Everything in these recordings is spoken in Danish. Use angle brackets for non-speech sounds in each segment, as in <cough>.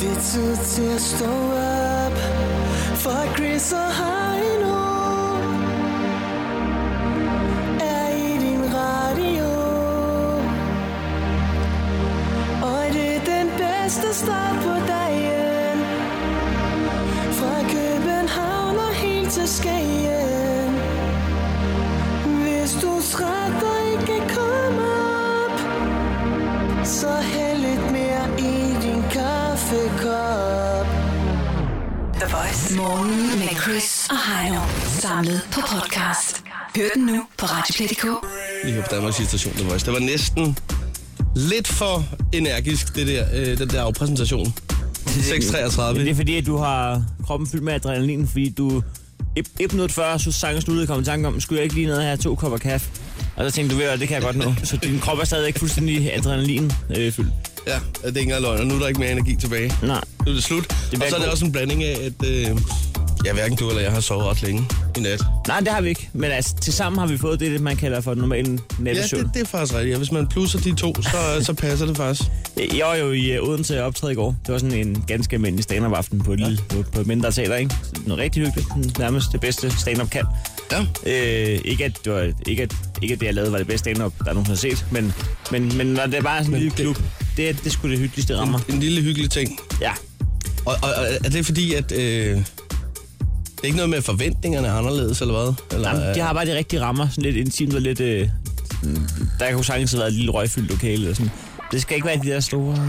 altid til at stå op For Chris og Heino Er i din radio Og det er den bedste start på dagen Fra København og helt til Skagen Hvis du er træt og ikke kan komme op Så hæld lidt mere i din kaffekop The Voice. Morgen med Chris og Heino. Samlet på podcast. Hør den nu på Radioplay.dk. lige her på Danmarks station The Voice. Det var næsten lidt for energisk, det der, øh, den der præsentation. 6.33. Men det er fordi, at du har kroppen fyldt med adrenalin, fordi du... ep- ep- minut før, så sangen sluttede, kom i tanke om, skulle jeg ikke lige ned og have to kopper kaffe? Og så tænkte du, ved du hvad, det kan jeg godt <laughs> nå. Så din krop er stadig ikke fuldstændig adrenalin øh, fyldt. Ja, det er ikke engang løgn, og nu er der ikke mere energi tilbage. Nej. Nu er det slut. bliver og så er det god. også en blanding af, at øh, ja, hverken du eller jeg har sovet ret længe i nat. Nej, det har vi ikke. Men altså, tilsammen har vi fået det, man kalder for den normale Ja, nattesøvn. det, det er faktisk rigtigt. Ja, hvis man plusser de to, <laughs> så, så passer det faktisk. Øh, Jeg var jo i øh, Odense og optræde i går. Det var sådan en ganske almindelig stand-up aften på et, lille, på, på et mindre teater, ikke? Så Noget rigtig hyggeligt. Sådan Nærmest det bedste stand-up kan. Ja. Øh, ikke, at det var, ikke, at, ikke at det, jeg lavede, var det bedste stand-up, der nogen har set, men, men, men når det bare er sådan en lille det- klub, det, det skulle det hyggeligste rammer. En lille hyggelig ting. Ja. Og, og, og er det fordi, at... Øh, det er ikke noget med at forventningerne er anderledes, eller hvad? Eller, Jamen, de øh, har bare de rigtige rammer, sådan lidt intimt og lidt... Øh, sådan- der kunne sagtens have været et lille røgfyldt lokale eller sådan. Det skal ikke være de der store... øh.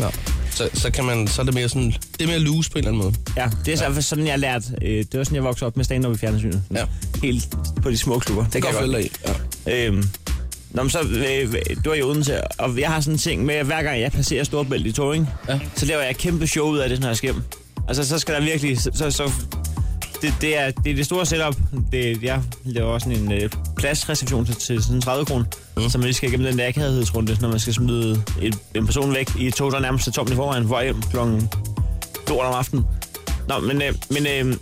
nå. Så, så, kan man, så er det mere sådan... Det er mere loose på en eller anden måde. Ja, det er så, ja. sådan, jeg lærte. Øh, det var sådan, jeg voksede op med stand-up i fjernsynet. Ja. Helt på de små klubber. Det, Det kan jeg godt. godt i. Ja. Øhm, Nå, men så, øh, du er i Odense, og jeg har sådan en ting med, at hver gang jeg passerer Storbælt i Toring, Ja. ja. så laver jeg et kæmpe show ud af det, når jeg skal hjem. Altså, så skal der virkelig... Så, så, så det, det, er, det er det store setup. Det, jeg laver også sådan en øh, pladsreception til, til sådan 30 kroner, Mhm. mm. så man lige skal igennem den der akavighedsrunde, når man skal smide et, en person væk i et tog, der nærmest er tomt i forvejen, hvor hjem klokken lort om aftenen. Nå, men, øh, men øh, øh,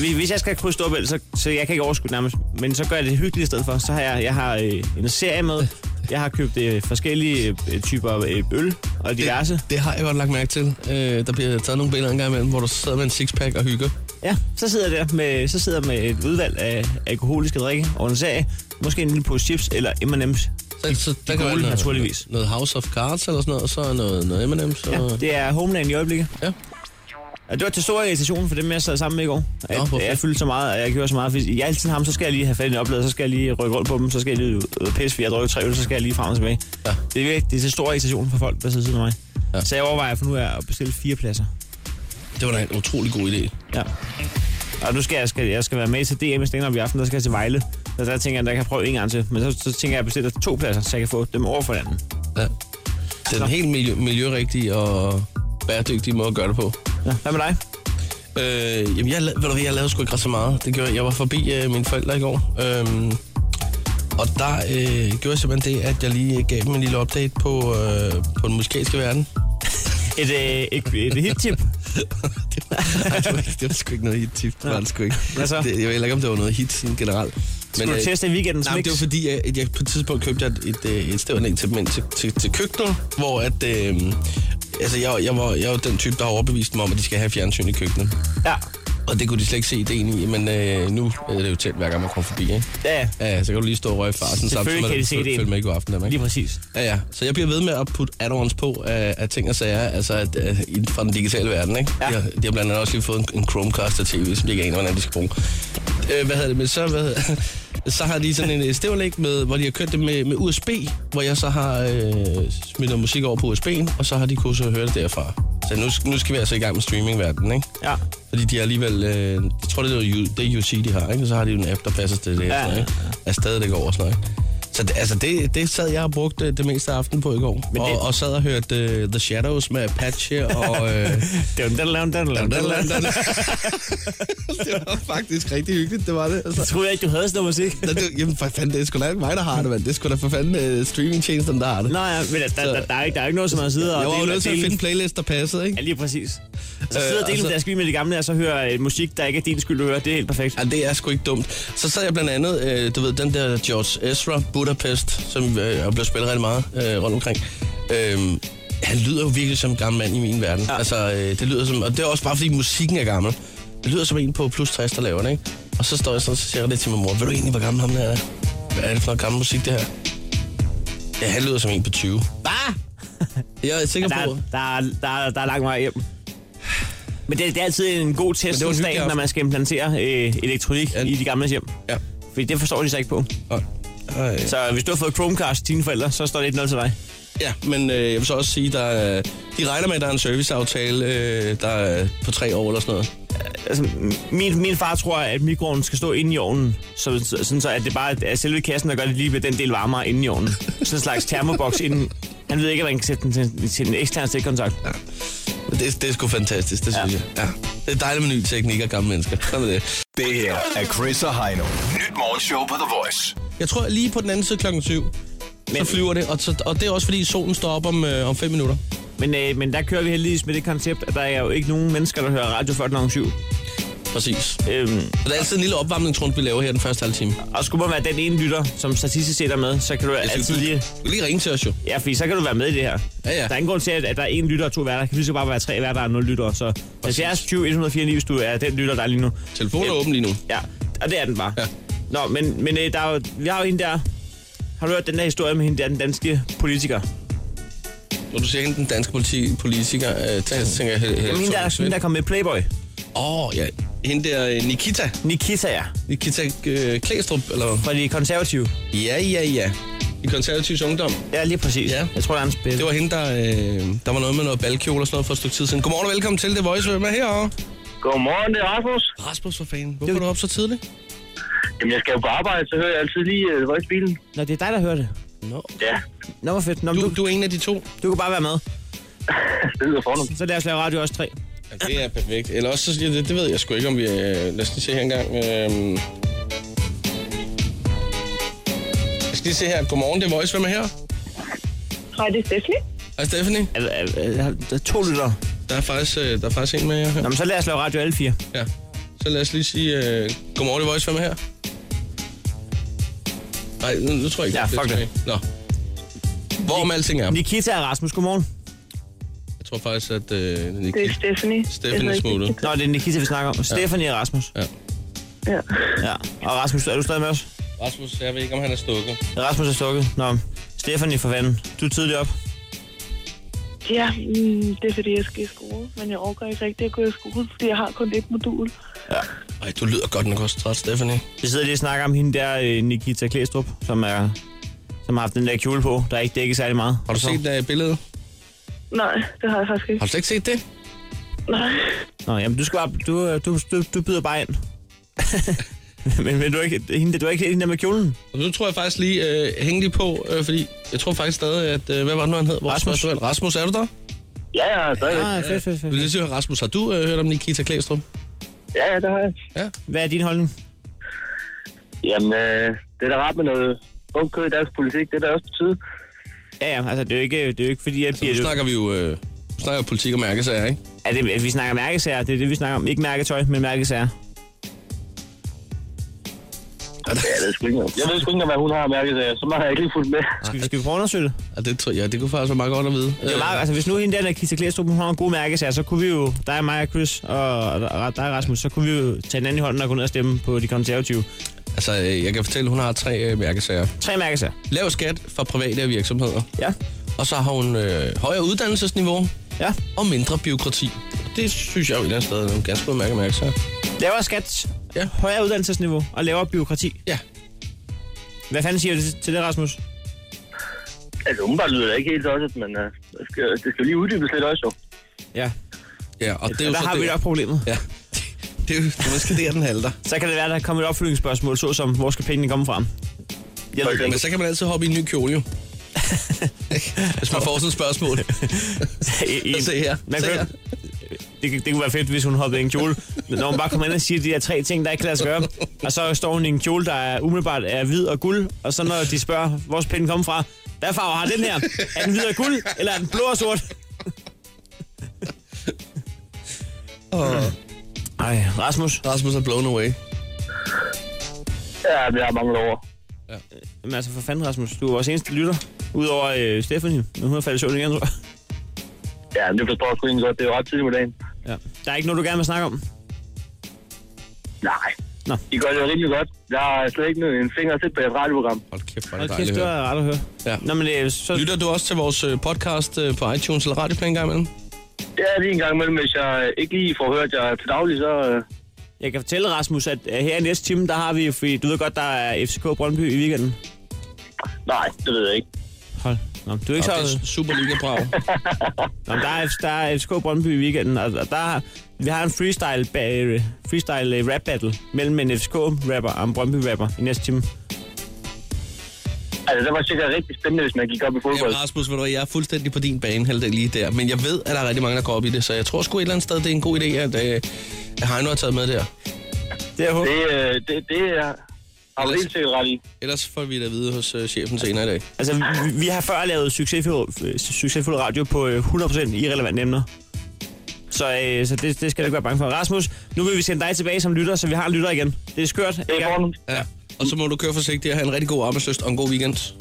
hvis- hvis jeg skal krydse Storbælt, så, så jeg kan ikke overskue det nærmest, men så gør jeg det hyggeligt i stedet for. Så har jeg, jeg har øh, en serie med, jeg har købt øh, forskellige øh, typer øh, øl og diverse. Det, det har jeg godt lagt mærke til. Øh, der bliver taget nogle billeder en gang imellem, hvor du sidder med en sixpack og hygger. Ja, så sidder jeg der med, så sidder jeg med et udvalg af alkoholiske drikke og en serie. Måske en lille pose chips eller M&M's. Så, så der gode, noget, naturligvis. noget House of Cards eller sådan noget, og så noget, noget M&M's. Ja, Og... Ja, det er homeland i øjeblikket. Ja. Og det var til stor irritation for dem, jeg sad sammen med i går. At, hvorfor? jeg fyldte så meget, og jeg gjorde så meget. Hvis jeg altid ham, så skal jeg lige have fat i en oplader, så skal jeg lige rykke rundt på dem, så skal jeg lige øh, pisse, fordi jeg har drukket tre øl, så skal jeg lige frem og tilbage. Ja. Det er virkelig det er til stor irritation for folk, der sidder siden af mig. Ja. Så jeg overvejer for nu er at bestille fire pladser. det var da en utrolig god idé. Ja. Og nu skal jeg, skal, jeg skal være med til DM i stand i aften, der skal jeg til Vejle. Så der tænker jeg, at jeg kan prøve en gang til. Men så, så tænker jeg, at jeg bestiller to pladser, så jeg kan få dem over for hinanden. Ja. Det er den helt miljø, miljørigtige og bæredygtige måde at gøre det på. Ja. Hvad med dig? Øh, jamen, jeg, la- ved du hvad, jeg lavede sgu ikke ret så meget. Det gjorde, jeg. jeg var forbi øh, mine forældre i går. Øhm, og der øh, gjorde jeg simpelthen det, at jeg lige gav dem en lille update på, øh, på den musikalske verden. <laughs> Et, øh, et, et hit-tip. <laughs> det, var, nej, det, var ikke, det var sgu ikke noget hit-tip. Det var det sgu ikke. Hvad så? Det, jeg ved heller ikke, om det var noget hit sådan generelt. Skulle du øh, teste i weekendens Nej, men mix? det var fordi, jeg, at jeg på et tidspunkt købte jeg et, et, øh, et stævanlæg til, dem ind til, til, til køkkenet, hvor at... Øh, altså, jeg, jeg, var, jeg var den type, der har overbevist dem om, at de skal have fjernsyn i køkkenet. Ja. Og det kunne de slet ikke se ideen i, men øh, nu er det jo tæt, hver gang man kommer forbi, ikke? Ja, ja. Ja, så kan du lige stå og røge farsen Selvfølgelig kan de se ideen. Følg med i god aften, dem, ikke? Lige præcis. Ja, ja. Så jeg bliver ved med at putte add-ons på af, af ting og sager, altså at, uh, fra den digitale verden, ikke? Ja. De, har, de har blandt andet også lige fået en, en Chromecast og tv, som de ikke aner, hvordan de skal bruge. Øh, hvad hedder det? Men så, hvad hedder, <laughs> så har de sådan en øh, stævlæg, med, hvor de har kørt det med, med USB, hvor jeg så har øh, smidt noget musik over på USB'en, og så har de kunnet så høre det derfra. Så nu, sk- nu skal vi altså i gang med streamingverdenen, ikke? Ja. Fordi de har alligevel, øh, jeg tror det er, U- det er UC, de har, ikke? Og så har de jo en app, der passer til det, Ja, ja, ja, ikke? Er stadigvæk over og sådan noget, ikke? Så det, altså det, det sad jeg og brugte øh, det meste af aftenen på i går. Men Men det- det... og, og sad og hørte uh, The Shadows med Apache og... Øh, <laughs> Det var den, der den, den, den, den. <laughs> det var faktisk rigtig hyggeligt, det var det. Jeg Altså. troede ikke, du havde sådan noget musik. Nå, det- Jamen for fanden, det er sgu da ikke mig, der har det, mand. Det er sgu da for fanden uh, streamingtjenesten, der har det. Nå ja, men der, der, der, der, er ikke, der er ikke noget, som man sidder og jeg var jo deler- nødt til at deler- finde playlist, der passede, ikke? Ja, lige præcis. Så Øh, sidder og og deler så- deres screen med de gamle, og så hører øh, musik, der ikke er din skyld, du hører. Det er helt perfekt. Ja, det er sgu ikke dumt. Så sad jeg blandt andet, øh, du ved, den der George Ezra, Budapest, som øh, er blevet spillet rigtig meget øh, rundt omkring. Øh, han lyder jo virkelig som en gammel mand i min verden. Ja. Ja. Altså, øh, det lyder som, og det er også bare fordi musikken er gammel. Det lyder som en på plus 60, der laver det, ikke? Og så står jeg sådan, så siger jeg det til min mor, ved du egentlig, hvor gammel ham der er? Hvad er det for noget gammel musik, det her? Ja, han lyder som en på 20. Hvad? Jeg er sikker Der, på... er- Altså, der, er, der, er, der er lang vej hjem. Men det, det er altid en god en test hyggelig dag, når aften. man skal implantere øh, elektronik Ja. ja. i de gamle hjem. Ja. Fordi det forstår de sig ikke på. Og, øh, Så hvis du har fået Chromecast til dine forældre, så står det 1-0 til dig. Ja, men øh, jeg vil så også sige, der er, de regner med, at der er en serviceaftale, øh, der er på tre år eller sådan noget. Altså, min, min far tror, at mikroovnen skal stå inde i ovnen, så, så- sådan så at det bare er selve kassen, der gør det lige ved den del varmere inde i ovnen. Sådan en slags termoboks inden. Han ved ikke, at man kan sætte den til, til en ekstern stikkontakt. Men Det, det er sgu fantastisk, det synes ja. jeg. Ja. Det er dejligt med ny teknik og gamle mennesker. Sådan er det. Det her er Chris og Heino. Nyt morgenshow på The Voice. Jeg tror, lige på den anden side klokken syv, men... så flyver det. Og, så, og det er også, fordi solen står op om, øh, om fem minutter. Men, øh, men der kører vi heldigvis med det koncept, at der er jo ikke nogen mennesker, der hører radio før kl. 7. Præcis. Øhm, Og der er altid en lille opvarmningsrunde, vi laver her den første halve time. og skulle man være den ene lytter, som statistisk set er med, så kan du altid lige... Du kan lige ringe til os jo. Ja, fordi så kan du være med i det her. Ja, ja. Der er ingen grund til, at, at der er én lytter og to værter. Der kan lige så godt bare være tre værter og nul lyttere. Så 70 20 104 hvis du er den lytter, der er lige nu. Telefonen er Yep. åben lige nu. Ja, og det er den bare. Ja. Nå, men, men øh, der er jo, vi har jo hende der... Har du hørt den der historie med hende der, den danske politiker? Når du siger hende, den danske politi- politiker, øh, tæ- tænker jeg... Jamen, hende der, hende der kom med Playboy. Åh, oh, ja. Hende der øh, Nikita. Nikita, ja. Nikita øh, Klæstrup, eller hvad? Fra de konservative. Ja, ja, ja. I konservativs ungdom. Ja, lige præcis. Ja. Jeg tror, der er en spil. Det var hende, der, øh, der var noget med noget balkjole og sådan noget for et stykke tid siden. Godmorgen og velkommen til The Voice. Hvem er herovre? Godmorgen, det er Rasmus. Rasmus for fanden. Hvorfor er du op så tidligt? Jamen, jeg skal jo på arbejde, så hører jeg altid lige uh, voicebilen. Nå, det er dig, der hører det. Nå. Ja, Nå, hvor fedt. Nå, men Du, du, du er en af de to. du kan bare være med. det lyder fornemt. Så lad os lave radio også tre. Ja, det er perfekt. Eller også, så, ja, det, det ved jeg sgu ikke, om vi... Øh, lad os lige se her engang. Øh, jeg skal lige se her. Godmorgen, The Voice. Hvem er her? Hej, det er Stephanie. Hej, Stephanie. Er, er, er, er to lyttere. Der er faktisk, øh, der er faktisk en med jer her. Nå, men så lad os lave radio alle fire. Ja. Så lad os lige sige... Øh, godmorgen, The Voice. Hvem er her? Nej, nu, nu tror jeg ikke. Ja, er fuck det. tilbage. Nå. Hvorom alting er. Nikita og Rasmus, godmorgen. Jeg tror faktisk, at øh, Det er Nikita... Stephanie. Stephanie Jeg hedder smuttede. Nikita. Nå, det er Nikita, vi snakker om. Stefanie og Rasmus. Ja. Ja. Og Rasmus, er du stadig med os? Rasmus, jeg ved ikke, om han er stukket. Rasmus er stukket. Nå, Stefanie for fanden. Du er tidligt op. Ja, mm, det er fordi, jeg skal i skole, men jeg overgår ikke rigtig at gå i skole, fordi jeg har kun et modul. Ej, du lyder godt nok også træt, Stephanie. Vi sidder lige og snakker om hende der, øh, Nikita Klæstrup, som, er, som har haft den der kjole på, der ikke dækker særlig meget. Altså- Har du Så- set uh, billedet? Nej, det har jeg faktisk ikke. Har du slet ikke set det? Nej. Nå, jamen du skal bare, du, øh, du, du, du byder bare ind. <laughs> men, men du er ikke, hende, du er ikke hende der med kjolen? Og nu tror jeg faktisk lige, uh, hænge lige på, uh, fordi jeg tror faktisk stadig, at... Uh, hvad var det nu, han hed? Vores Rasmus. første valg. Rasmus, er du der? Ja, ja, så er det. Nej, Ah, fedt, fedt, Du vil lige sige, Rasmus, har du uh, hørt om Nikita Klæstrup? Ja, ja, det har jeg. Hvad er din holdning? Jamen, øh, det er da rart med noget ung kød i dansk politik. Det er da også på tide. Ja, ja, altså det er jo ikke, det er jo ikke fordi, at, Så nu bliver, snakker vi jo... Uh, nu snakker vi politik og mærkesager, ikke? at, det, at vi snakker mærkesager. Det er det, vi snakker om. Ikke mærketøj, men mærkesager. Ja, det er sgu ikke noget. Jeg ved sgu ikke, engang, hvad hun har mærket sig. Så meget har jeg ikke lige fulgt med. Skal vi, skal vi prøve at undersøge det? Ja, det, tror, ja, det kunne faktisk være meget godt at vide. Øh, Det er meget, altså, hvis nu hende der, der Kista Klæstrup, hun har en god mærkesager, så kunne vi jo, dig og mig og Chris og og dig Rasmus, så kunne vi jo tage hinanden i hånden og gå ned og stemme på de konservative. Øh, altså, øh, jeg kan fortælle, at hun har tre uh, mærkesager. Tre mærkesager. Lav skat for private og virksomheder. Ja. Og så har hun øh, højere uddannelsesniveau. Ja. og mindre biokrati. Det synes jeg jo et eller andet sted er nogle ganske gode mærke mærke, så. Lavere skat, Ja. ja. højere uddannelsesniveau og lavere byråkrati. Ja. Hvad fanden siger du til det, Rasmus? Altså, umiddelbart lyder det ikke helt tosset, men øh, det, skal, det skal jo lige uddybes lidt også, jo. Ja. Ja, og det er jo der så har det. vi nok problemet. Ja. Det er jo det er måske der, den halter. Så kan det være, der kommer et opfølgningsspørgsmål, såsom, hvor skal pengene komme fra? Jeg ved det Men så kan man altid hoppe i en ny kjole, jo. Hvis man får sådan et spørgsmål. ikke. <laughs> I- i- Se her. Man Se kan, her. det, kan- det kunne være fedt, hvis hun hoppede i en kjole. Når hun bare kommer ind og siger de der tre ting, der ikke kan lade sig gøre. Og så står hun i en kjole, der er umiddelbart er hvid og guld. Og så når de spørger, hvor skal pinden komme fra? Hvad farve har den her? Er den hvid og guld, eller er den blå og sort? Ej, Rasmus. Rasmus er blown away. Ja, men jeg har mange over. Jamen altså, for fanden, Rasmus. Du er vores eneste lytter. Udover øh, Stephanie, men hun er faldet i søvn igen, tror jeg. Ja, men det forstår jeg sgu egentlig godt. Det er jo ret tidligt på dagen. Ja. Der er ikke noget, du gerne vil snakke om? Nej. Nå. I gør det jo rimelig godt. Jeg har slet ikke en finger at sætte på jeres radioprogram. Hold kæft, hvor er det Hold dejligt. kæft, det at høre. var rart at høre. Ja. Nå, men øh, så... Lytter du også til vores øh, podcast øh, på iTunes eller Radioplan en gang imellem? Det er lige en gang imellem, hvis jeg øh, ikke lige får hørt jer til daglig, så... øh, Jeg kan fortælle, Rasmus, at øh, her i næste time, der har vi... Fordi du ved godt, der er FCK Brøndby i weekenden. Nej, det ved jeg ikke. Hold. Nå, du er ikke Så så... det er super liga brav. Nå, men der, er, der er FCK Brøndby i weekenden, og, og der vi har en freestyle, ba- freestyle øh, rap battle mellem en FCK-rapper og en Brøndby-rapper i næste time. Altså, det var sikkert rigtig spændende, hvis man gik op i fodbold. Jamen, Rasmus, ved du, hvad, jeg er fuldstændig på din bane halvdel lige der. Men jeg ved, at der er rigtig mange, der går op i det, så jeg tror sgu et eller andet sted, det er en god idé, at, øh, at Heino har taget med der. Det er håb. Det, øh, det, det er... Har du Ellers- helt sikkert ret i? Ellers får vi det at vide hos øh, chefen senere i dag. Altså, vi, vi har før lavet succesfuld, øh, succesfuld radio på øh, 100% irrelevante emner. Så, øh, så det, det skal du ikke være bange for. Rasmus, nu vil vi sende dig tilbage som lytter, så vi har en lytter igen. Det er skørt. Det er fornemt. Ja. Og så må du køre forsigtigt og have en rigtig god arbejdsløst og en god weekend.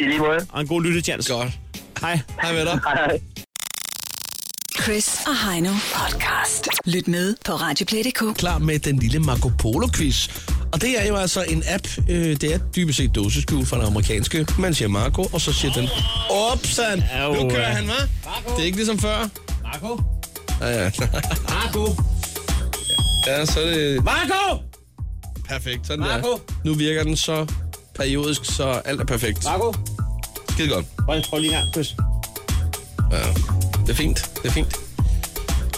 I lige måde. Og en god lyttechance. Godt. Hej. Hej med dig. Hej, hej. Chris og Heino podcast. Lyt med på Radioplay.dk. klar med den lille Marco Polo-quiz. Og det er jo altså en app, øh, det er dybest set dåseskjul fra den amerikanske. Man siger Marco, og så siger den, Opsan, nu Au, kører ja. han, hva'? Det er ikke ligesom før. Marco? Ja, ja. Marco? ja, så er det Marco! perfekt. Sådan Marco! der. Nu virker den så periodisk, så alt er perfekt. Marco? Skide godt. Hold, hold lige en gang. Kys. Ja. Det er fint, det er fint.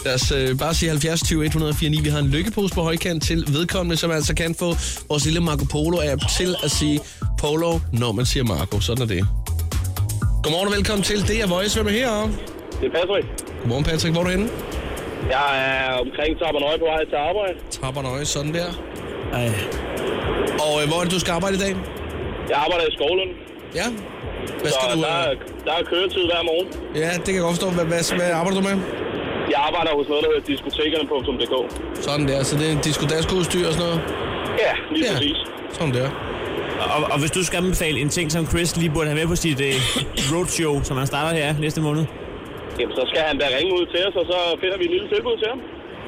Lad os øh, bare sige 70 20 104 9. Vi har en lykkepose på højkant til vedkommende, som altså kan få vores lille Marco Polo-app til at sige Polo, når man siger Marco. Sådan er det. Godmorgen og velkommen til. Det er Voice. Hvem er her? Det er Patrick. Godmorgen, Patrick. Hvor er du henne? Jeg er omkring Tabernøje på vej til arbejde. Trapper nøje, sådan der. Ej. Og øh, hvor er det, du skal arbejde i dag? Jeg arbejder i skolen, Ja. Hvad skal du... Øh, der er køretid hver morgen. ja, det kan jeg godt forstå. Hvad, hvad, hvad arbejder du med? Jeg arbejder hos noget, der hedder diskotekerne.dk. Sådan der. Så det er diskodaskoudstyr og sådan noget? Ja, lige Ja. Sådan der. Og, og hvis du skal anbefale en ting, som Chris lige burde have med på sit øh, roadshow, som han starter her næste måned, Jamen, så skal han da ringe ud til os, og så finder vi et lille tilbud til ham.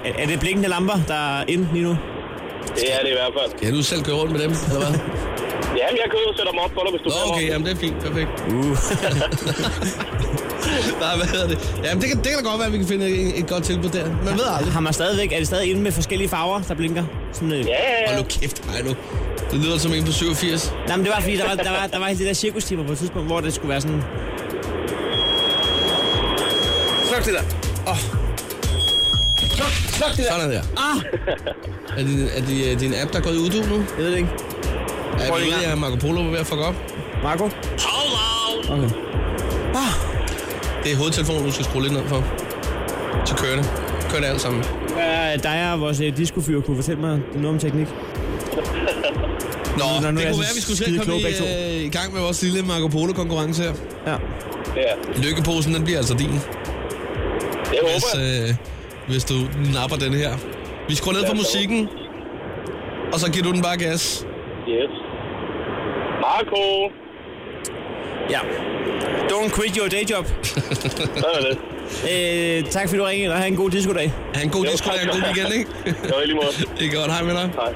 er, er det blinkende lamper, der er inde lige nu? Det er det i hvert fald. Kan du selv køre rundt med dem, eller <laughs> hvad? Ja, jeg kører ud og sætter dem op for dig, hvis du Nå, okay, jamen det er fint, perfekt. <laughs> Uh. Nej, hvad hedder det? Jamen, det kan, det kan da godt være, at vi kan finde et, et godt tilbud der. Man ved aldrig. Har man stadigvæk, er det stadig inde med forskellige farver, der blinker? Sådan, øh. Ja, ja, ja. Hold nu kæft, ej nu. Det lyder som en på 87. Nej, men det var fordi, der var, der var, der var hele det der cirkustimer på et tidspunkt, hvor det skulle være sådan... Sluk det der. Oh. Sluk, sluk det der. Sådan der. Ah. Er det, er det øh, din app, der er gået i uddu nu? Jeg ved det ikke. Er Prøv lige det, en at Marco Polo var ved at fuck op? Marco? Okay. Ah, Det er hovedtelefonen, du skal skrue lidt ned for. Så kører det. Kører det alt sammen. øh, dig og vores øh, discofyr kunne fortælle mig noget om teknik. Nå, Nå, nu er det jeg kunne så være, at vi skulle skide selv komme klog i, begge to. øh, i gang med vores lille Marco Polo-konkurrence her. Ja. Ja, Lykkeposen, den bliver altså din. det håber hvis, jeg. øh, hvis du napper den her. Vi skruer ned for musikken, og så giver du den bare gas. Yes. Marco, Ja. Don't quit your day job. sådan er det. <laughs> Øh, tak fordi du ringede, og have en god discodag. Ha' en god Jo, disco, og tak. en god weekend, ikke? <laughs> Jo, i lige måde. det er godt, hej med dig. Hej.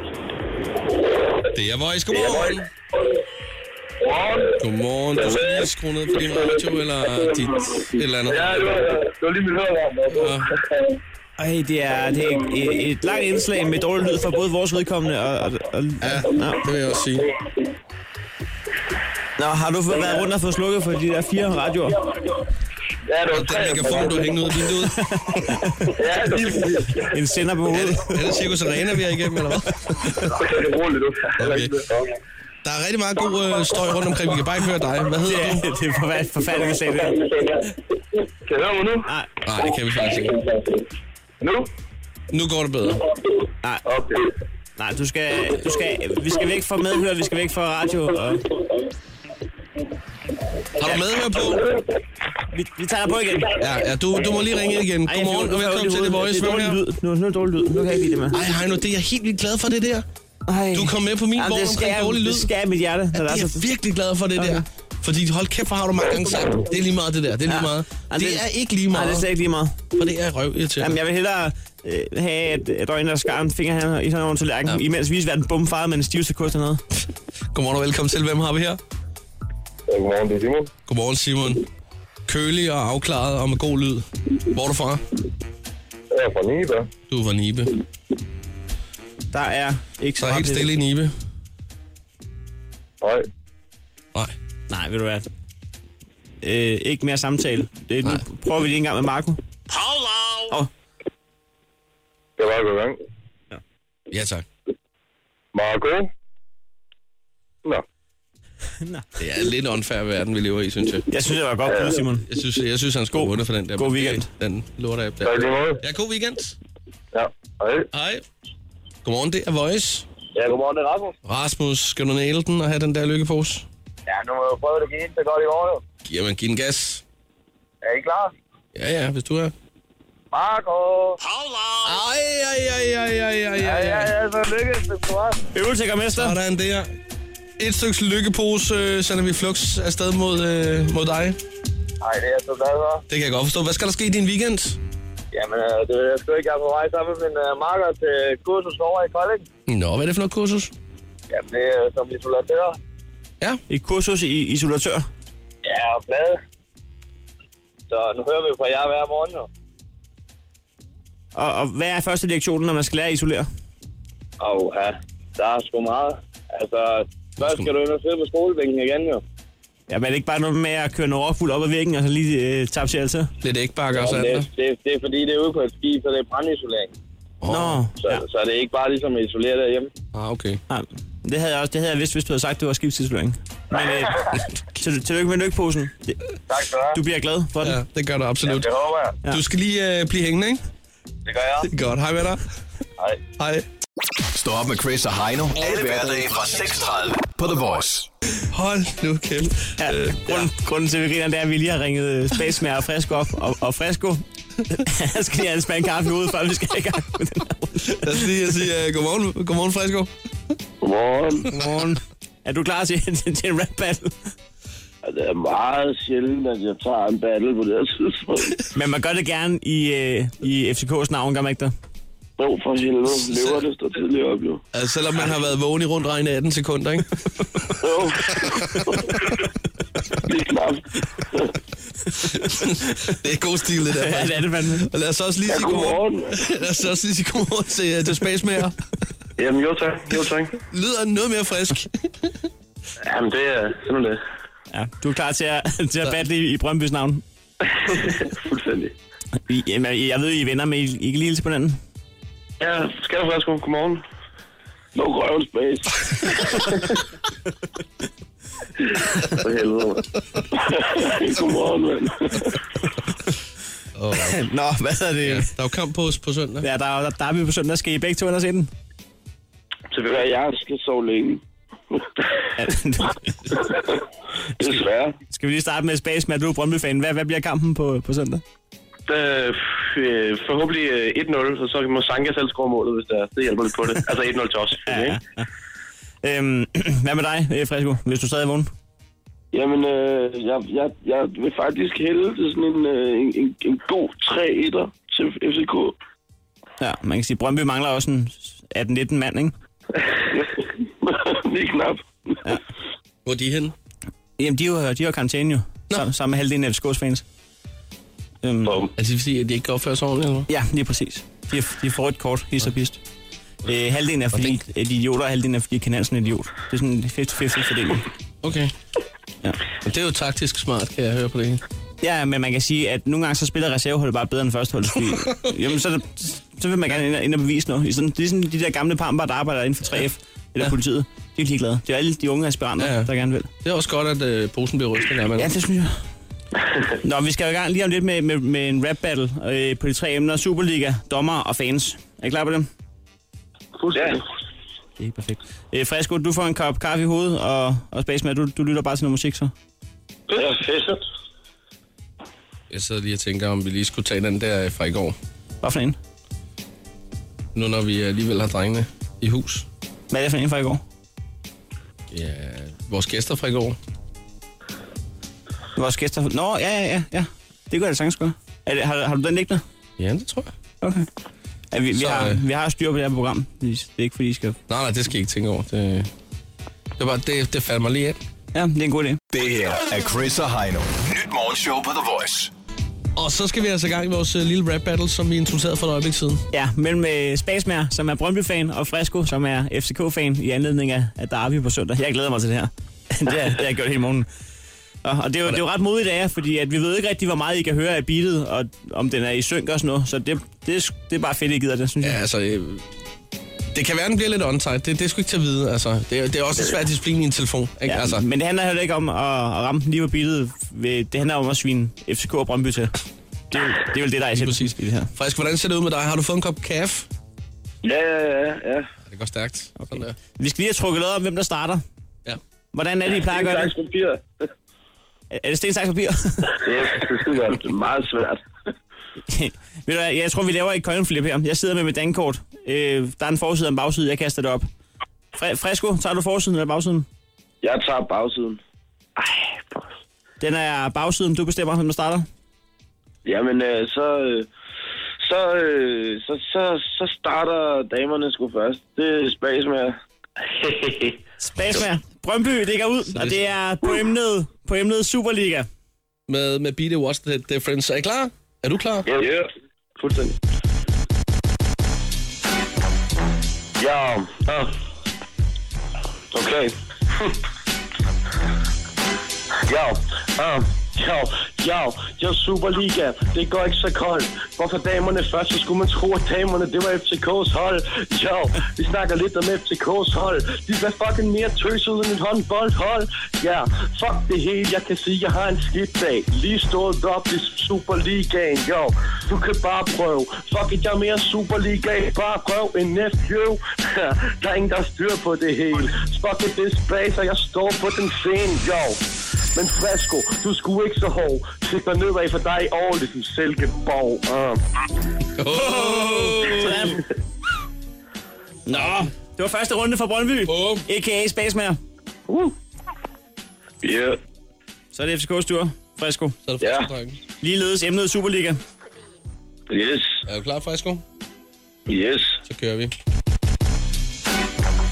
Det er Voice, godmorgen. Godmorgen. Godmorgen, du skal lige skrue ned for din radio eller dit et eller andet. Ja, det var, det var lige mit hørevarm. Ja. Ej, det er, det er et, et langt indslag med dårlig lyd for både vores vedkommende og... og, og Ja, Nå. det vil jeg også sige. Nå, har du fået- været rundt og fået slukket for de der fire radioer? Ja, det var Og den tre. megafon, du har hængende ud af vinduet, Ja, det var lige En sender på hovedet. er det Circus Arena, vi er igennem, eller hvad? Okay, det er roligt, du. Okay. Der er rigtig meget god øh, støj rundt omkring. Vi kan bare ikke høre dig. Hvad hedder Ja, du? det er forfærdeligt, forfærdeligt at se det. Kan jeg høre mig nu? Nej, Nej, det kan vi faktisk ikke. Nu? Nu går det bedre. Okay. nej, du skal, du skal, vi skal væk fra medhør, vi skal væk fra radio. Og Har du medhør på? vi, vi tager dig på igen. Ja, ja du, du må lige ringe ind igen. Ej, jeg Godmorgen fik- og nu får jeg velkommen ondt i til The hovedet. Voice. Det er Hvem dårlig lyd. Nu, er her? nu er det dårlig lyd. Nu kan jeg ikke lide det mere. Ej, Heino, det er jeg helt vildt glad for, det der. Ej. Du kom med på min Jamen, vogn det skal omkring jeg, dårlig lyd. det skal jeg i mit hjerte. Når der Det er er så, jeg virkelig glad for, det der. Fordi hold kæft, hvor har du mange gange sagt, det er lige meget det der, det er lige meget. Ej, Det er ikke lige meget, Nej, det er slet ikke lige meget. for det er røv Jamen, irriterende. jeg vil hellere øh, have, at, at der er en, der skar en finger her i sådan en tallerken, ja. imens vi er den bumfarede med en stivelse kost hernede. Godmorgen og velkommen til. Hvem har vi her? Ja, Godmorgen, det er Simon. Godmorgen, Simon. Kølig og afklaret og med god lyd. Hvor er du fra? Jeg er fra Nibe. Du er fra Nibe. Der er ikke Så så er helt til- stille i Nibe? Hej. Nej. Nej, ved du hvad? Øh, ikke mere samtale. Det, nu Nej. prøver vi lige en gang med Marco. Hello! Oh, Jeg var i gang. Ja, tak. Marco? Nå. Det er lidt unfair verden, vi lever i, synes jeg. jeg synes, det var godt, ja. Simon. Jeg synes, jeg synes han skulle vunde for den der. god weekend. Den lorte-app der. Tak lige måde. Ja, god weekend. Ja. Hej. Hej. Godmorgen, det er Voice. Ja, godmorgen, det er Rasmus. Rasmus, skal du næle den og have den der lykkepose? Ja, nu må jeg prøve det igen, så godt i morgen. jo. Jamen, giv den gas. Er I klar? Ja, ja, hvis du er. Marco! Ej, ej, ej, ej, ej, ej, Ja, ja, ej, ej. ja, så lykkes det, du har. Øveltækker mester. Sådan der. Et stykke lykkepose øh, sender vi flux afsted mod, øh, mod dig. Ej, det er jeg så glad for. Det kan jeg godt forstå. Hvad skal der ske i din weekend? Jamen, øh, det ved jeg sgu ikke. Jeg er på vej sammen med min øh, marker til kursus over i Kolding. Nå, hvad er det for noget kursus? Jamen, det er øh, som isolatør. Ja, Et kursus i isolatør. Ja, og plade. Så nu hører vi jo fra jer hver morgen, jo. Og, og hvad er første lektionen, når man skal lære at isolere? Og ja, der er sgu meget. Altså, først skal du ind og sidde på skolebænken igen, jo. Ja, men er det ikke bare noget med at køre noget overfuld op ad væggen, og så lige øh, tabe til altid? lidt ægbakker og Jamen, sådan det, noget. det, det, er fordi, det er ude på et skib, så det er brandisolering. Nå, Så, ja. så det er ikke bare ligesom at isolere derhjemme. Ah, okay. Nej, det havde jeg også. Det havde jeg vidst, hvis du havde sagt, at det var skibstidsføring. Men øh, til, tillykke med lykkeposen. Det, Tak skal du have. du bliver glad for den. Ja, det gør du absolut. Det håber jeg. Du skal lige øh, blive hængende, ikke? Det gør jeg. <laughs> Godt, hej med dig. Hej. Hej. Stå op med Chris og Heino. Alle hverdage fra 6.30 på The Voice. Hold nu kæft. Ja, Øh, grunden, grunden til, at vi griner, det er, at vi lige har ringet øh, Space Mare og Fresco op. Og, og Fresco, <laughs> han skal lige have en spand kaffe ud, før vi skal i gang med den her runde. Lad os lige sige uh, godmorgen, godmorgen Fresco. Godmorgen. Godmorgen. Er du klar til, til, til en rap battle? Det er meget sjældent, at jeg tager en battle på det her tidspunkt. Men man gør det gerne i, øh, i FCK's navn, gør man ikke det? Jo, for helvede. Lever det står tidligere op, jo. Altså, selvom man har været vågen i rundt regn i 18 sekunder, ikke? Jo. <laughs> Lige knap. Det er god stil, det der. Ja, det er det fandme. Og lad os også lige sige godmorgen. Godmorgen. <laughs> Lad os også lige sige godmorgen til, uh, til Space Mayer. Jamen, jo tak. Jo tak. Lyder noget mere frisk. Jamen, det er sådan det. Ja, du er klar til at, <laughs> til at battle i, i Brøndby's navn? <laughs> Fuldstændig. I, jamen, jeg ved, I er venner, men I, I kan lige hilse på hinanden. Ja, skal du frisk Godmorgen. No grøven space. for helvede, mand. Godmorgen, mand. Oh, <laughs> Nå, hvad er det? ja. Der er jo kamp på os på søndag. Ja, der, er- der, der er vi på søndag. Skal I begge to ind og se den? Så vil jeg, jeg skal sove længe. <laughs> Ja. Desværre. Skal vi lige starte med Space Mare? Du er Brøndby-fan. Hvad, hvad bliver kampen på, på søndag? <laughs> Øh, f- øh, forhåbentlig øh, 1-0, og så må Sanka selv score målet, hvis det er. Det hjælper lidt på det. Altså 1-0 til os. Ja, ja. Øhm, <clears throat> hvad med dig, øh, Fresco, hvis du stadig er vågen? Jamen, øh, jeg, jeg, jeg vil faktisk hælde til sådan en, øh, en, en, en god 3-1'er til FCK. Ja, man kan sige, Brøndby mangler også en 18-19 mand, ikke? <laughs> Lige knap. Hvor er de hen? Jamen, de har de har karantæne jo, sammen, sammen med halvdelen af FCK's fans. Øhm, Bum. Er Altså, det fordi, at de ikke kan opføre sig ordentligt, eller hvad? ja, lige præcis. De har, de får et kort, his og pist. Øh, halvdelen er fordi, den- at de er idioter, og halvdelen er fordi, Ken Hansen er idiot. Det er sådan en 50-50 fordeling. Okay. Ja. Men det er jo taktisk smart, kan jeg høre på det hele. Ja, men man kan sige, at nogle gange så spiller reserveholdet bare bedre end førsteholdet. <laughs> Fordi, jamen, så, er der- så vil man gerne ind og, ind og bevise noget. I sådan, det er sådan de der gamle pamper, der arbejder inden for 3F eller Ja. politiet. De er ligeglade. Det er alle de unge aspiranter, Ja, ja, ja. ja. der gerne vil. Det er også godt, at øh, posen bliver rystet, når man Ja, det synes <laughs> jeg. Nå, vi skal jo i gang lige om lidt med, med, med en rap battle øh, på de tre emner. Superliga, dommer og fans. Er I klar på dem? Ja. Det er ikke perfekt. Øh, Fresco, du får en kop kaffe i hovedet, og, og Spaceman, du, du lytter bare til noget musik så. Det er fedt. Jeg sidder lige og tænker, om vi lige skulle tage den der øh, fra i går. Hvad for en? Nu når vi alligevel har drengene i hus. Hvad er det for en fra i går? Ja, vores gæster fra i går. Vores gæster... Nå, ja, ja, ja. ja. Det kunne jeg da sagtens gøre. Er det, har, har du den liggende? Ja, det tror jeg. Okay. Ja, vi, vi, Så, har, øh. vi har styr på det her program. Det er ikke fordi, I skal... Nej, nej, det skal I ikke tænke over. Det, det, var, det, det faldt mig lige ind. Ja, det er en god idé. Det her er Chris og Heino. Nyt morgenshow på The Voice. Og så skal vi altså i gang i vores øh, lille rap battle, som vi introducerede for et øjeblik siden. Ja, mellem øh, Spasmager, som er Brøndby-fan, og Fresco, som er FCK-fan, i anledning af, af Derby på søndag. Jeg glæder mig til det her. <laughs> det, har, det har jeg gjort hele morgenen. Og, og det, er jo, det er jo ret modigt af jer, fordi at vi ved ikke rigtig, hvor meget I kan høre af beatet, og om den er i synk og sådan noget. Så det, det, er sk- det er bare fedt, I gider det, synes Ja, jeg. altså... øh, Det kan være, den bliver lidt on Det, det er sgu ikke til at vide. Altså, det, er, det er også en svær disciplin i en telefon. Ikke? Ja, altså, altså. Men det handler heller ikke om at, at ramme den lige på beatet. Ved- Det handler om at svine FCK og Brøndby til. Det er, jo- det er vel det, der er præcis. essensen i det her. Frisk, hvordan ser det ud med dig? Har du fået en kop kaffe? Ja, ja, ja. ja. Det går stærkt. Okay. Sådan der. Vi skal lige have trukket noget om, hvem der starter. Ja. Hvordan er det, I plejer at gøre det? Saks papir. Er- Er det sten, saks, <laughs> papir? Det, det skal være meget svært. Ved du hvad, jeg tror, vi laver et coinflip her. Jeg sidder med mit dankort. Øh, der er en forside og en bagside, jeg kaster det op. Fre- Fresco, tager du forsiden eller bagsiden? Jeg tager bagsiden. Ej, for- Den er bagsiden, du bestemmer, hvem der starter. Jamen, øh, så, øh, så, øh, så, så, så starter damerne sgu først. Det er spas med. Spasmer. Brøndby ligger ud, og det er på emnet, på emnet Superliga. Med, med Beat It, What's the Difference. Er I klar? Er du klar? Ja, yeah. fuldstændig. Ja, ja. Okay. <laughs> Ja, ja, ja, ja, ja, Superliga, det går ikke så koldt. Hvorfor damerne først, så skulle man tro, at damerne, det var FCK's hold. Ja, vi snakker lidt om FCK's hold. De er fucking mere tøsede end et håndboldhold. Ja, fuck det hele, jeg kan sige, jeg har en skidt dag. Lige stået op i Superligaen, jo. Du kan bare prøve. Fuck it, jeg er mere Superliga, bare prøv en nephew. <laughs> der er ingen, der har styr på det hele. Fuck it, det er space, og jeg står på den scene, jo. Men Fresco, du skulle ikke så hård. Sigter nedad for dig i år, ligesom Silkeborg. Uh. Oh! Sådan. Nå, det var første runde for Brøndby. Bum. A.k.a. Spasmer. Yeah. Så er det FCK's tur. Fresco. Så er det Fresco, Ja. drengen. Ligeledes emnet Superliga. Yes. Er du klar, Fresco? Yes. Så kører vi.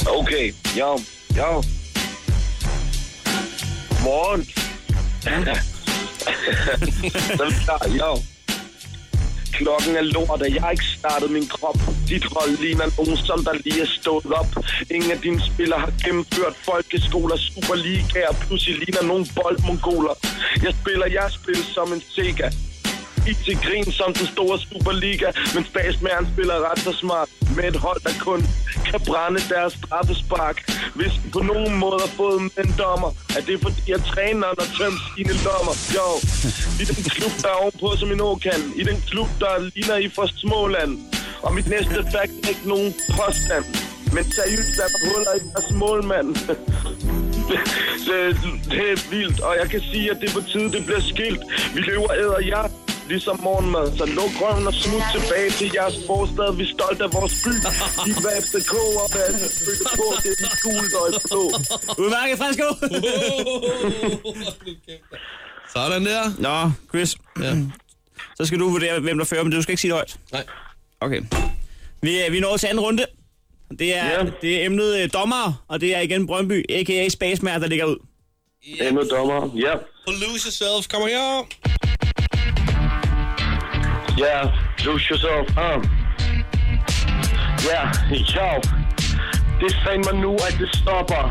Okay. Ja. Ja. Morgen. Så er vi klar. Ja. Klokken er lort, og jeg har ikke startet min krop. Dit hold ligner nogen, som der lige er stået op. Ingen af dine spillere har gennemført folkeskoler, superligaer, pludselig ligner nogen boldmongoler. Jeg spiller jeres spil som en Sega. I til grin som den store Superliga, men statsmæren spiller ret så smart med et hold, der kun kan brænde deres straffespark. Hvis vi på nogen måde har fået med en dommer, er det fordi, at træneren har tømt sine lommer. Jo, i den klub, der er ovenpå som en åkan, i den klub, der ligner I fra Småland. Og mit næste fact er ikke nogen påstand, men seriøst er der huller i deres målmand. <laughs> det, det er vildt, og jeg kan sige, at det er på tide, det bliver skilt. Vi løber æder jer, ligesom morgenmad. Så luk røven og smut tilbage til jeres forstad. Vi er stolte af vores by. I hvad FCK og hvad er det, følte på, det er de gult og i blå. Udmærket, Fresco. Sådan der. Nå, Chris. Ja. Så skal du vurdere, hvem der fører, men du skal ikke sige det højt. Nej. Okay. Vi, er- vi når til anden runde. Det er, Ja. det er emnet øh, dommer, og det er igen Brøndby, a.k.a. Spasmer, der ligger ud. Endnu dommer. Ja. Lose yourself. Kom her. Ja. Lose yourself. Um. Ja. Ja. Det sagde mig nu, at det stopper.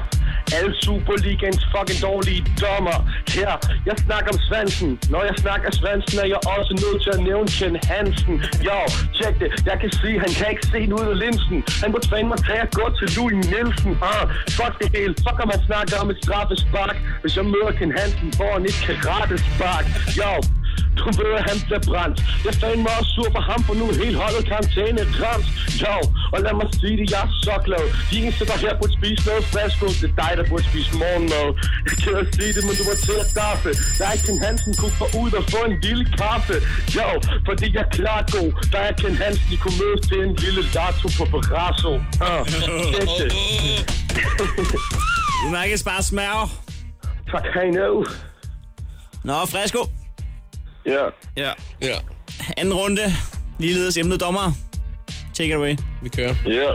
Alle Superligans fucking dårlige dommer. Her, jeg snakker om Svansen. Når jeg snakker Svansen, er jeg også nødt til at nævne Ken Hansen. Jo, tjek det. Jeg kan se, han kan ikke se den ud af linsen. Han må træne mig tage at gå til Louis Nielsen. Ah, fuck det hele. Fuck om han snakker om et straffespark. Hvis jeg møder Ken Hansen, får han et karatespark. Jo, du ved, at han bliver brændt. Jeg fandme mig også sur for ham, for nu er hele holdet karantæne rams. Jo, og lad mig sige det, jeg er så glad. De eneste, der her burde spise noget fast food, det er dig, der burde spise morgenmad. Jeg kan at sige det, men du var til at daffe. Der er Ken Hansen kunne få ud og få en lille kaffe. Jo, fordi jeg er klart god. Der er Ken Hansen, I kunne mødes til en lille dato på Barrasso. Uh, Udmærket Spasmer. tak, hej nu. Nå, Fresco. Ja. Ja. Ja, Anden runde. Ligeledes emnet dommer. Take it away. vi kører. Ja.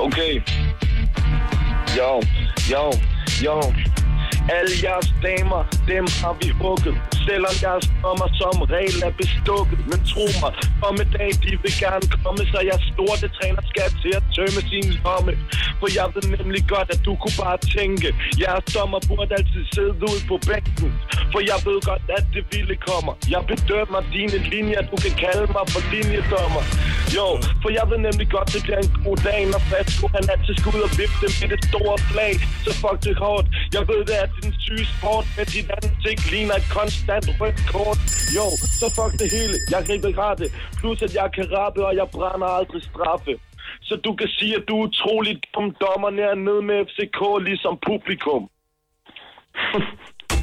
Okay. Jo, jo, jo. Alle jeres damer, dem har vi hugget. Selvom jeres dommer som regel er bestukket. Men tro mig, om en dag de vil gerne komme, så jeg sorte træner skal til at tømme sin lomme. For jeg ved nemlig godt, at du kunne bare tænke, jeres dommer burde altid sidde ude på bænken. For jeg ved godt, at det vilde kommer. Jeg bedømmer dine linjer, du kan kalde mig for linjedommer. Jo, for jeg ved nemlig godt, det bliver en god dag, når Flasco han altid skal ud og vifte med det store flag. Så fuck det hårdt. Jeg ved det, at din syge sport med dit ansigt ligner et konstant rødt kort. Jo, så fuck det hele. Jeg kan ikke rette. Plus at jeg kan rappe, og jeg brænder aldrig straffe. Så du kan sige, at du er utrolig dum dommer nede med FCK, ligesom publikum.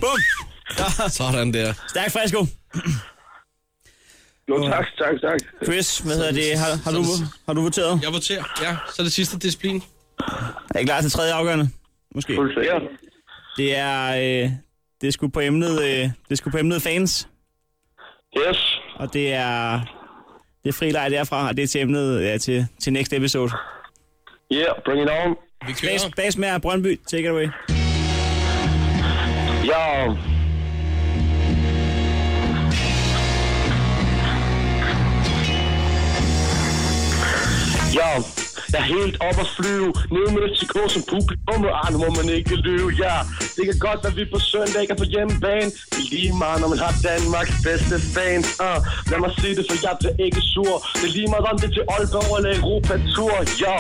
Bum! Sådan der. Stærk Fresco. Jo, tak, tak, tak. Chris, hvad hedder det? Har, har, du, har du voteret? Jeg voterer. Ja, så er det sidste disciplin. Er I klar til tredje afgørende? Måske. Ja, Det er... Øh, det er sgu på emnet, øh, det er sgu på emnet fans. yes. Og det er... Det er frilej derfra, og det er til emnet ja, til, til next episode. Yeah, bring it on. Vi kører. Bas, bas med Brøndby, take it away. Ja. Ja, jeg er helt op at flyve. Nede med FCK som publikum, og ah, nu må man ikke lyve, ja. Det kan godt være, at vi på søndag ikke er på hjemmebane. Men Lige meget, når man har Danmarks bedste fans. Uh, lad mig sige det, for jeg bliver ikke sur. Det er lige meget om det er til Aalborg eller Europa-tur, ja.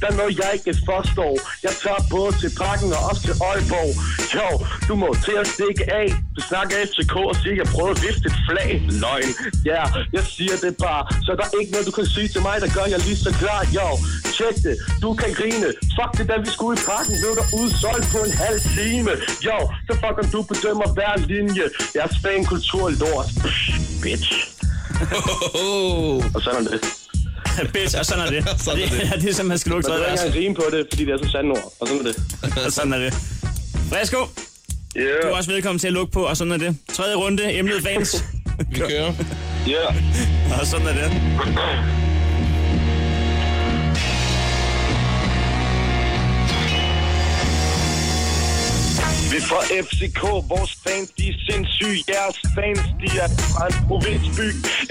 Der er noget, jeg ikke forstår. Jeg tager både til Parken og også til Aalborg. Jo, du må til at stikke af. Du snakker FCK og siger, at jeg prøver at vifte et flag. Løgn. Ja, jeg siger det bare. Så der er ikke noget, du kan sige til mig, der gør jeg lige så klar. Jo, tjek det. Du kan grine. Fuck det, da vi skulle i parken, blev der udsolgt på en halv time. Jo, så fuck om du bedømmer hver linje. Jeres fankultur er lort. Pff, bitch. Oh, Og sådan er det. <laughs> Bitch, og sådan er <laughs> det. <laughs> Sådan er det. det er det, som man skal lukke Man behøver ikke tredje vers. engang rime på det, fordi det er så sandt ord. Og sådan er det. Og <laughs> sådan er det. Fresco, du Yeah, er også velkommen til at lukke på, og sådan er det. Tredje runde, emnet fans. <laughs> vi kører. yeah. og sådan er det. Vi er fra FCK, vores fans, de er sindssyge. Jeres fans, de er fra en provinsby.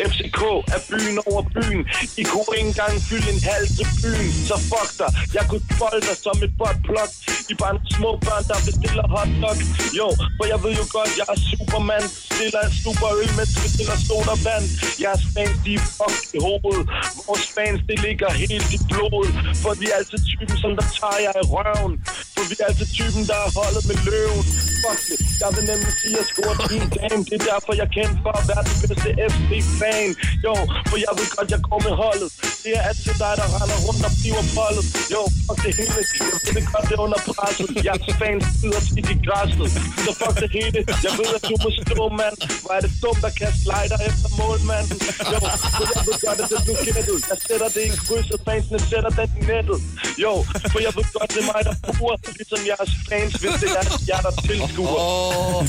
FCK er byen over byen. I kunne ikke engang fylde en halv til byen. Så fuck dig, jeg kunne folde dig som et botplok. I er bare nogle små børn, der bestiller hotdog. Jo, for jeg ved jo godt, jeg er superman. Stiller en super øl, mens vi stiller soda vand. Jeres fans, de er fucked i hovedet. Vores fans, det ligger helt i blodet. For vi er altid typen, som der tager jer i røven. For vi er altid typen, der er holdet med løven. Fuck det. Jeg vil nemlig sige, at jeg scorede din dame. Det er derfor, jeg kender for at være den bedste FC-fan. Jo, for jeg ved godt, jeg går med holdet. Det er altid dig, der render rundt og bliver foldet. Jo, fuck det hele. Jeg ved det godt, det er under presset. Jeres fans sidder skidt i græsset. Så fuck det hele. Jeg ved, at du må stå, mand. Hvor er det dumt at kaste slider efter målmanden. Jo, for jeg ved godt, at det bliver gættet. Jeg sætter det i kryds, og fansene sætter den i nettet. Jo, for jeg ved godt, det er mig, der bruger, ligesom jeres fans, hvis det er jer, der tilskuer. Åh, oh,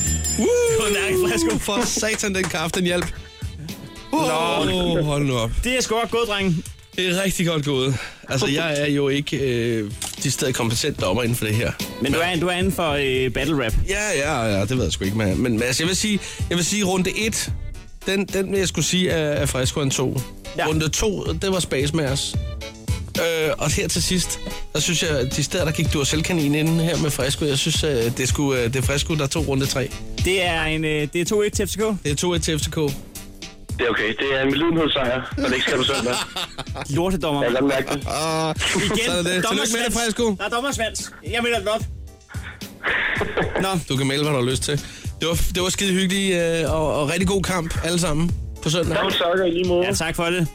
Godnat, Fresco. for satan, den kraft, den hjælp. Oh, hold nu op. Det er sgu godt gået, drenge. Det er rigtig godt gået. Altså, jeg er jo ikke øh, de steder kompetent dommer inden for det her. Men du er, du er inden for øh, battle rap. Ja, ja, ja, det ved jeg sgu ikke, men, men altså, jeg vil sige, jeg vil sige runde 1, den, den vil jeg skulle sige er, er friskere end 2. Ja. Ja. Runde 2, det var Space Mars. Øh, og her til sidst, der synes jeg, at de steder, der gik du og selvkanin inden her med Fresco, jeg synes, at det, skulle, det er Fresco, der tog runde 3. Det er, en, øh, det er 2-1 til FCK. Det er 2-1 til FCK. Det er okay. Det er en lydenhedssejr, når det ikke skal på søndag. <laughs> Lortedommer. Jeg kan godt mærke det. Ah, <laughs> Igen, Sådan er det. Tillykke med det, dommersvans. Fresco. Der er dommersvans. Jeg melder den op. Nå, Du kan melde, hvad du har lyst til. Det var, det var skide hyggeligt øh, og, og rigtig god kamp, alle sammen, på søndag. Kom, sukker, i lige måde. ja, tak for det.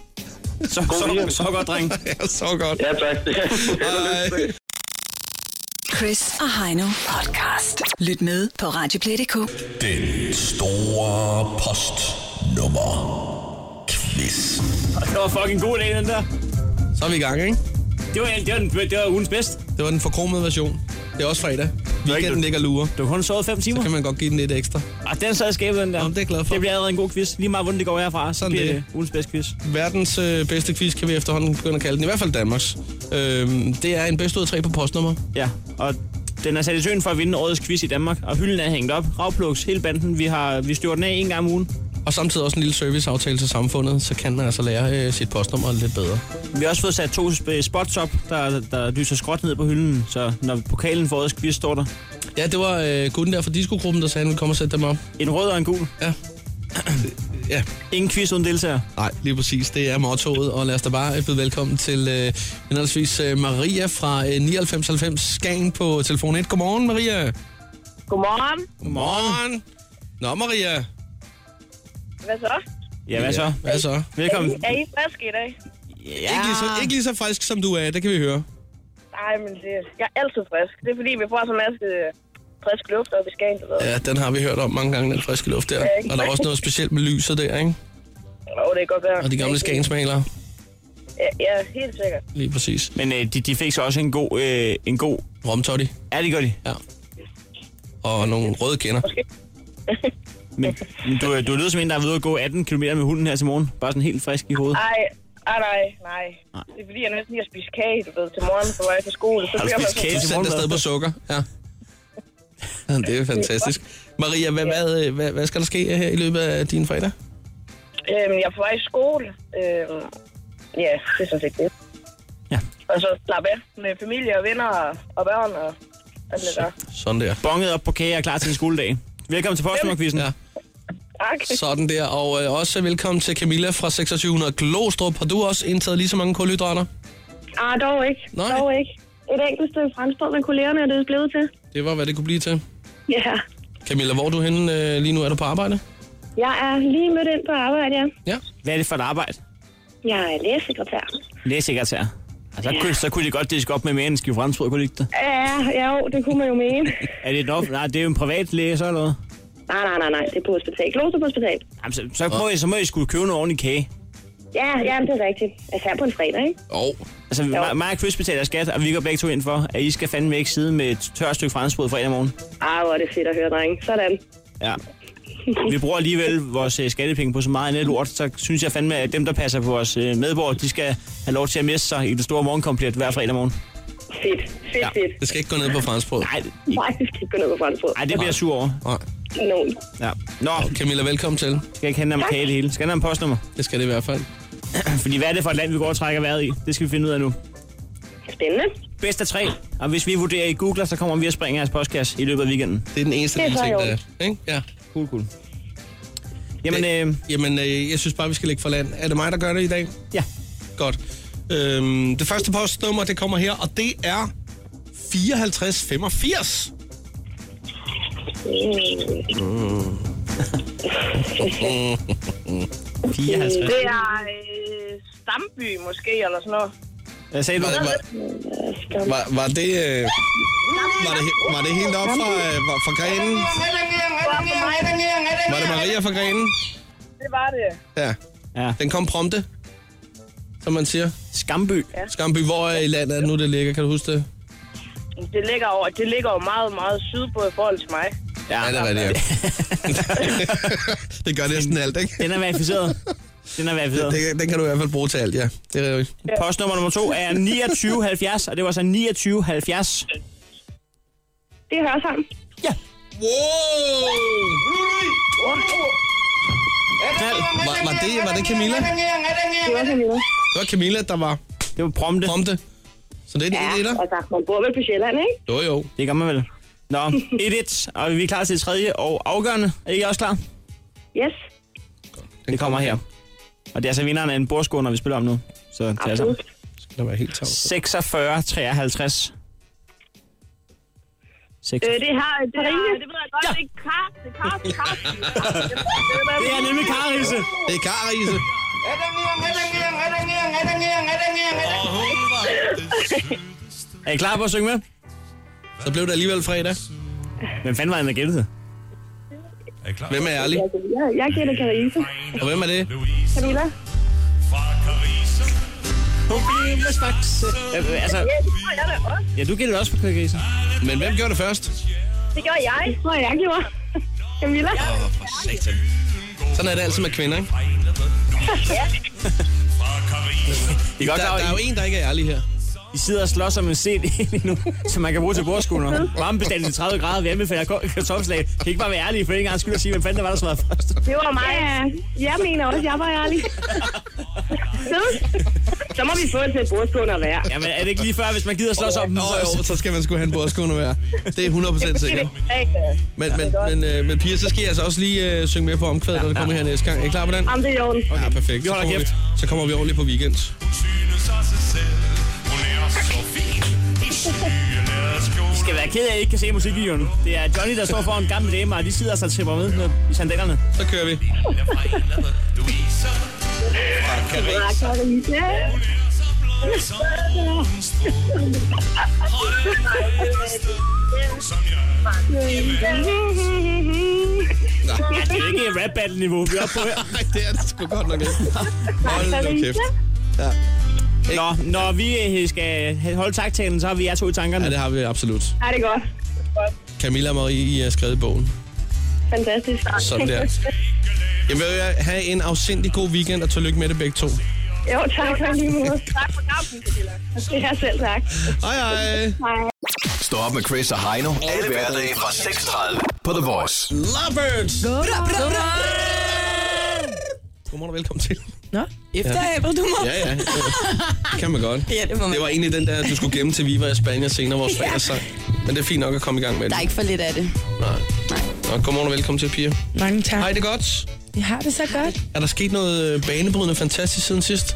Så, så, weekend. så godt, dreng. <laughs> Ja, så godt. Ja, tak. <laughs> Hej. Chris og Heino podcast. Lyt med på Radioplay.dk. Den store post nummer quiz. Det var fucking god dag, den der. Så er vi i gang, ikke? Det var, det var, den, det var ugens bedst. Det var den forkromede version. Det er også fredag. Weekenden ligger lurer. Du har kun sovet 5 timer. Så kan man godt give den lidt ekstra. Og den sad i skabet, den der. Jamen, det er jeg glad for. Det bliver allerede en god quiz. Lige meget, hvordan det går herfra. Sådan Sådan bliver det. det. Ugens bedste quiz. Verdens øh, bedste quiz kan vi efterhånden begynde at kalde den. I hvert fald Danmarks. Øhm, det er en bedst ud af tre på postnummer. Ja, og den er sat i søen for at vinde årets quiz i Danmark. Og hylden er hængt op. Ravplugs, hele banden. Vi, har, vi styrer den af en gang om ugen. Og samtidig også en lille serviceaftale til samfundet, så kan man altså lære øh, sit postnummer lidt bedre. Vi har også fået sat to sp- spots op, der, der lyser skråt ned på hylden. Så når pokalen for årets quiz står der. Ja, det var øh, gutten der fra diskogruppen, der sagde, at han ville komme og sætte dem op. En rød og en gul. Ja. ja, Ingen quiz uden deltager. nej, lige præcis. Det er mottoet, og lad os da bare øh, byde velkommen til øh, henholdsvis øh, Maria fra øh, 9990 Skagen på telefon 1. Godmorgen, Maria. Godmorgen. Godmorgen. Nå, Maria. Hvad så? Ja, hvad så? Hvad så? Velkommen. Er I friske i dag? Ja. Ikke lige så, ikke lige så frisk, som du er, det kan vi høre. Nej, men det, jeg er altid frisk. Det er fordi, vi får så masse øh, frisk luft op i Skagen, du ved. Ja, den har vi hørt om mange gange, den friske luft der. Og der er også noget specielt med lyset der, ikke? Og det kan godt være. Og de gamle skagensmalere. Ja, ja, helt sikkert. Lige præcis. Men øh, de, de fik så også en god... Øh, en god Romtotti. ja, det gør de. Ja. Og nogle røde kender. <laughs> Men men du, øh, du lyder som en, der er ved at gå 18 km med hunden her til morgen. Bare sådan helt frisk i hovedet. Ej, ej, nej, nej. Det er fordi, jeg næsten lige har spist kage, du ved, til morgen på vej til skole. Så Har du bliver man spist sådan- kage? Du sendte afsted på sukker. Ja. Ja, Det er fantastisk. Maria, hvad, hvad, øh, hvad, hvad skal der ske her i løbet af din fredag? Øhm, jeg er på vej i skole. Øhm, ja, det er sådan set det. Ja. Og så slappe af med familie og venner og, og børn og alt det der. Sådan der. Bonget op på kage og er klar til en skoledag. Velkommen til Postmarkvisen. Ja, Tak. sådan der. Og øh, også velkommen til Camilla fra 2600 Glostrup. Har du også indtaget lige så mange kulhydrater? Ah, dog ikke. Nej. Dog ikke. Et enkelt stykke franskbrød med kollegerne er det blevet til. Det var, hvad det kunne blive til. Ja. Camilla, hvor er du henne øh, lige nu? Er du på arbejde? Jeg er lige mødt ind på arbejde, ja. Ja. Hvad er det for et arbejde? Jeg er lægesekretær. Lægesekretær. Altså, så, kunne, så kunne de godt diske op med mere end en skive franskbrød, kunne de ikke det? Ja, ja, jo, det kunne man jo mene. Er det et off- Nej, det er jo en privat læge, så eller noget. nej, nej, nej, nej, det er på hospital. Kloster på hospital. Jamen, så, så, må I, så må I skulle købe noget ordentligt kage. Ja, ja, men det er rigtigt. Altså her på en fredag, ikke? Jo. Altså, mig- mig og Chris betaler skat, og vi går begge to ind for, at I skal fandme ikke sidde med et tørt stykke franskbrød fredag morgen. Ah, hvor er det fedt at høre, drenge. Sådan. Ja. Vi bruger alligevel vores øh, skattepenge på så meget andet lort, så synes jeg fandme, at dem, der passer på vores øh, medborgere, de skal have lov til at miste sig i det store morgenkomplet hver fredag morgen. Fedt, fedt, Ja. fedt. Det skal ikke gå ned på franskbrød. Nej, Nej, vi skal ikke gå ned på franskbrød. nej, det bliver jeg sur over. Nej. No. Ja. Nå, Camilla, velkommen til. skal ikke handle om kage det hele. Skal handle om postnummer. Det skal det i hvert fald. <clears throat> Fordi hvad er det for et land, vi går og trækker vejret i? Det skal vi finde ud af nu. Spændende. Bedst af tre. Og hvis vi vurderer i Google, så kommer vi at springe jeres postkasse i løbet af weekenden. Det er den eneste Det er lille så ting, i der orden. er. Ikke? Ja. Cool, cool. Jamen, øh, Jamen, øh, jeg synes bare, vi skal lægge for land. Er det mig, der gør det i dag? ja. Godt. Øhm, det første postnummer, det kommer her, og det er <laughs> 5485. Mm. 54. Det er øh, Stamby måske, eller sådan noget. Hvad sagde du? Var, var, var, var, det, øh, var, det, he- var det helt op fra, øh, var- fra grenen? Var det Maria fra grenen? Det var det. Ja. Ja. Den kom prompte, som man siger. Skamby. Skamby, hvor er i landet er det nu, det ligger? Kan du huske det? Det ligger, over, det ligger jo meget, meget sydpå i forhold til mig. Ja, det er <laughs> rigtigt. ja. det gør næsten alt, ikke? Den er verificeret. Den er verificeret. Det, den kan du i hvert fald bruge til alt, ja. Det er rigtigt. Postnummer nummer to er 2970, og det altså var så 2970. Det hører sammen. Ja. Wow! Knald. Var, var, det, var det Camilla? Det var <laughs> sådan noget. Det var Camilla, der var Det var prompte. prompte. Så det er en Ja, ja. etter. altså, man bor vel på Sjælland, ikke? Jo, jo. Det gør man vel. Nå, 1-1, og vi er klar til tredje og afgørende. Er I også klar? Yes. Det kommer her. Og det er altså vinderen af en bordskål, når vi spiller om nu. Så det er altså Absolut. Det var helt tavs. 46 53. Seks- Øh, det her, det, her, det ved jeg godt, ja. det er Karsten. Karsten, Karsten. Det er nemlig Karise. Det er Karise. Er I klar på at synge med? Så blev det alligevel fredag. Hvem fanden var han, der gættede det? Hvem er ærlig? Jeg, jeg gælder Karise. Og hvem er det? Camilla. Øh, altså, Ja, det tror jeg da også. Øh, altså- ja, du gættede også på Karise. Men hvem gjorde det først? Det gjorde jeg. Det tror jeg, jeg gjorde. Camilla. Åh, oh, for satan. Sådan er det altid med kvinder, ikke? ja. I der, der er jo en, der ikke er ærlig her. I sidder og slås om en CD <laughs> lige nu, som man kan bruge til bordskunder. Varmebestanden til 30 grader, vi anbefaler ko- kartoffelslag. Kan I ikke bare være ærlige for en gang skyld og sige, hvem fanden der var, der svarede først? Det var mig. Ja, jeg mener også, jeg var ærlig. Så, så må vi få et sæt bordskunder hver. Jamen, er det ikke lige før, hvis man gider slås om den? Nå, jo, så skal man sgu have en bordskunde være. Det er 100% sikkert. Men, men, men, øh, men piger, så skal jeg altså også lige øh, synge med på omkvædet, når det kommer her næste gang. Er I klar på den? Jamen, det er i orden. Ja, perfekt. Vi holder så kommer kæft. Vi, så kommer vi ordentligt på weekend. I skal være ked af, at I ikke kan se musikvideoen. Det er Johnny, der står foran en gammel dame, og de sidder og så tripper med med- i sandalerne. Så kører vi. Ja. Det er ikke rap battle niveau, vi er oppe på her. <laughs> Nej, det er det sgu godt nok ikke. Hold nu kæft. Nå, når vi øh, skal holde taktalen, så har vi jer to i tankerne. Ja, det har vi absolut. Ja, det er godt. Camilla og Marie, I har skrevet i bogen. Fantastisk. Sådan <laughs> der. Jeg vil jo have en afsindig god weekend, og tillykke med det begge to. Jo, tak for lige måde. Tak for kampen, Camilla. Ja, selv tak. Hej hej. Hej. Stå op med Chris og Heino. Alle hverdage fra 6.30 på The Voice. Lovebirds. Bra, bra, bra. Godmorgen og velkommen til. Nå, efterhaber du mig. Ja, ja. Det kan man godt. Ja, det må man. Det var egentlig den der, du skulle gemme til Viva i Spanien senere, vores fredagssang. Men det er fint nok at komme i gang med det. Der er ikke for lidt af det. Nej. Nå, godmorgen og velkommen til, piger. Mange tak. Hej, det er godt. Vi har det så godt. Er der sket noget øh, banebrydende fantastisk siden sidst?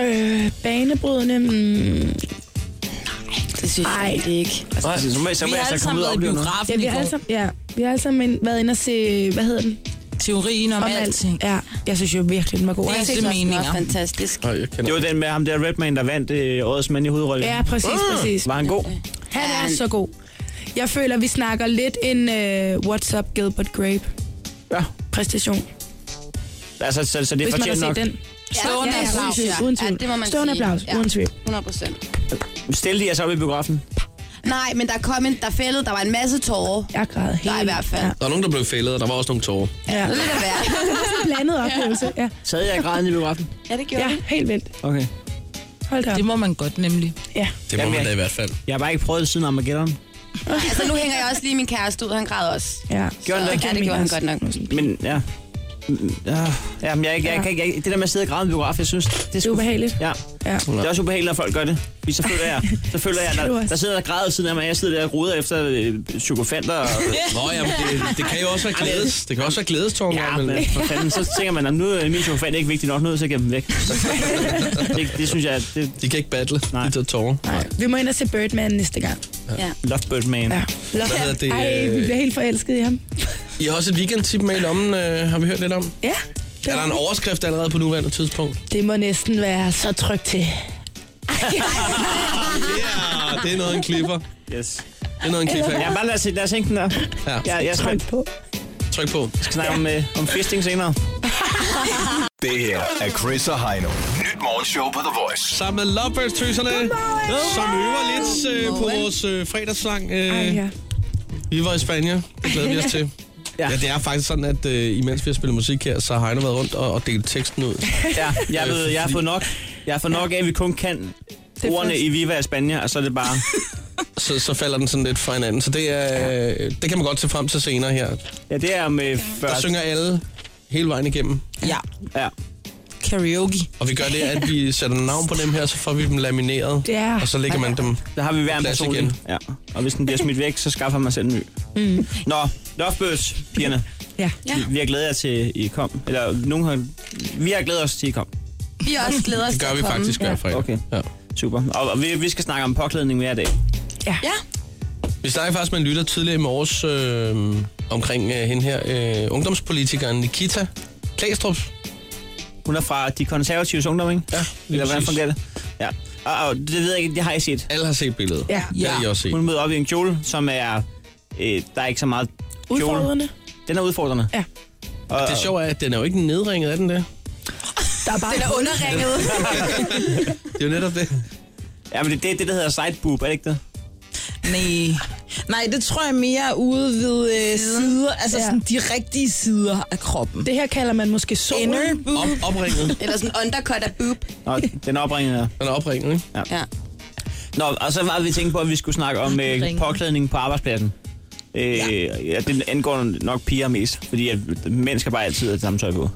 Øh, banebrydende. Mm, Det synes jeg ej, det er ikke. Nej, så må jeg, så Vi må jeg har alle altså sammen komme ud og været i opleve noget. biografen Ja, vi har alle sammen, ja, vi har alle sammen været inde og se, hvad hedder den? Teorien om, alting. Ja, jeg synes jo virkelig, den var god. Det er Ikke? det meninger. fantastisk. Nej, jeg kender Det var den med ham der Redman, der vandt øh, årets mand i hovedrollen. Ja, præcis, Ah! præcis. Var han god? Han er så god. Jeg føler, vi snakker lidt en uh, What's Up Gilbert Grape Ja. præstation. Altså, så, så det er Hvis man har fortjent set nok. den. Stående ja, uden applaus, tvivl, ja. uden Ja, tvivl. det må man Stående sige. applaus, Ja. uden tvivl. 100 procent. Stil de jer så op i biografen. Nej, men der kom en, der fældede, der var en masse tårer. Jeg græd helt. Der i hvert fald. Der var nogen, der blev fældet, og der var også nogle tårer. Ja. Det ja. vil det <laughs> være. Blandet oplevelse. Ja. Sad jeg i graden i biografen? Ja, det gjorde ja, ja. helt vildt. Okay. Hold da op. må man godt nemlig. Ja. Det må Jamen, man jeg- da i hvert fald. Jeg har bare ikke prøvet det siden Armageddon. Altså, nu hænger jeg også lige min kæreste ud, han græd også. ja. Gjorde han det? Ja, det gjorde han godt nok. Men ja. Mm, Ja, ja men jeg, jeg, jeg, kan ikke- jeg, det der med at sidde i graden i biografen, jeg synes, det er, Det er sgu- ubehageligt. Ja. Ja. Det er også ubehageligt, når folk gør det. Fordi så føler jeg, så føler jeg Det er der, også- der sidder der græder ved siden af mig, jeg sidder der og roder efter øh, psykofanter. Og, Nå, jamen, det, det kan jo også være glædes. Det kan også være glædestår. ja, men for fanden, så tænker man, at nu er min psykofant ikke vigtig nok, nu er jeg så gennem væk. det, det, synes jeg, det De kan ikke battle, Nej. de der tårer. Nej. Vi må ind og se Birdman næste gang. er Lovebird Man. Ja. Ja. Hvad hedder det? Ej, vi øh, bliver helt forelskede i ham. I har også et weekendtip med i lommen, øh, har vi hørt lidt om. Ja. Det, Er der en overskrift allerede på nuværende tidspunkt? det må næsten være så trygt til. Ja, det er noget af en klipper. Yes. Det er noget af en Ja, cliffhanger. bare lad os, lad os hænge den der. Ja. Ja, jeg skal Tryk på. Tryk på. snakke om, øh, om fisting senere. Det her er Chris og Heino. Nyt morgenshow på The Voice. Sammen med Lovebirds-tøserne, som øver lidt øh, på vores øh, fredagssang. Øh, Ej, ja. Vi var i Spanien. Det glæder vi os til. Ja. Ja. ja, det er faktisk sådan, at øh, imens vi har spillet musik her, så har Heino været rundt og, og delt teksten ud. <laughs> Ja, jeg, ved, jeg har fået nok. Jeg har fået nok af, at vi kun kan ordene først. i Viva i Spanien, og så er det bare... <laughs> Så, så falder den sådan lidt fra hinanden. Så det, er, øh, det kan man godt se frem til senere her. Ja, det er med Der 40... synger alle hele vejen igennem. Ja, Ja. karaoke. Og vi gør det, at vi sætter navn på dem her, så får vi dem lamineret. Ja. Og så lægger man dem. Der har vi hver en Plads person igen. igen. Ja. Og hvis den bliver smidt væk, så skaffer man selv en ny. Mm. Nå, Lovebirds, pigerne. Ja. Ja. Vi har glædet jer til, I kom. Eller nogen har... Vi har glædet os til, I kom. Vi har også glæder os Det til gør at vi komme. faktisk hver fredag. Okay. Ja. Super. Og, og vi, vi skal snakke om påklædning hver dag. Ja, Vi snakkede faktisk med en lytter tidligere i morges øh, omkring øh, hende her, øh, ungdomspolitikeren Nikita Klæstrup. Hun er fra de konservatives ungdom, ikke? Ja, Eller hvordan præcis. fungerer det? Ja. Og, og det ved jeg ikke, det har jeg set. Alle har set billedet. Ja. Det har I også set. Hun møder op i en kjole, som er... Øh, der er ikke så meget kjole. Udfordrende. Den er udfordrende. Ja. Og, Det sjove er, at den er jo ikke nedringet, er den det? Der er bare den er underringet. <laughs> <laughs> Det er jo netop det. ja, men det er det, det, der hedder sideboob, er det ikke det? Nej. <laughs> Nej, det tror jeg mere er ude ved øh, sider, altså ja. sådan de rigtige sider af kroppen. Det her kalder man måske solen. Inner boob. Op, opringet. <laughs> Eller sådan undercut af boob. Nå, den er opringende. Den er opringende, ikke? Ja. ja. Nå, og så var vi tænkt på, at vi skulle snakke om øh, påklædning på arbejdspladsen. Øh, ja. ja. det angår nok piger mest, fordi at mænd skal bare altid have det samme tøj på.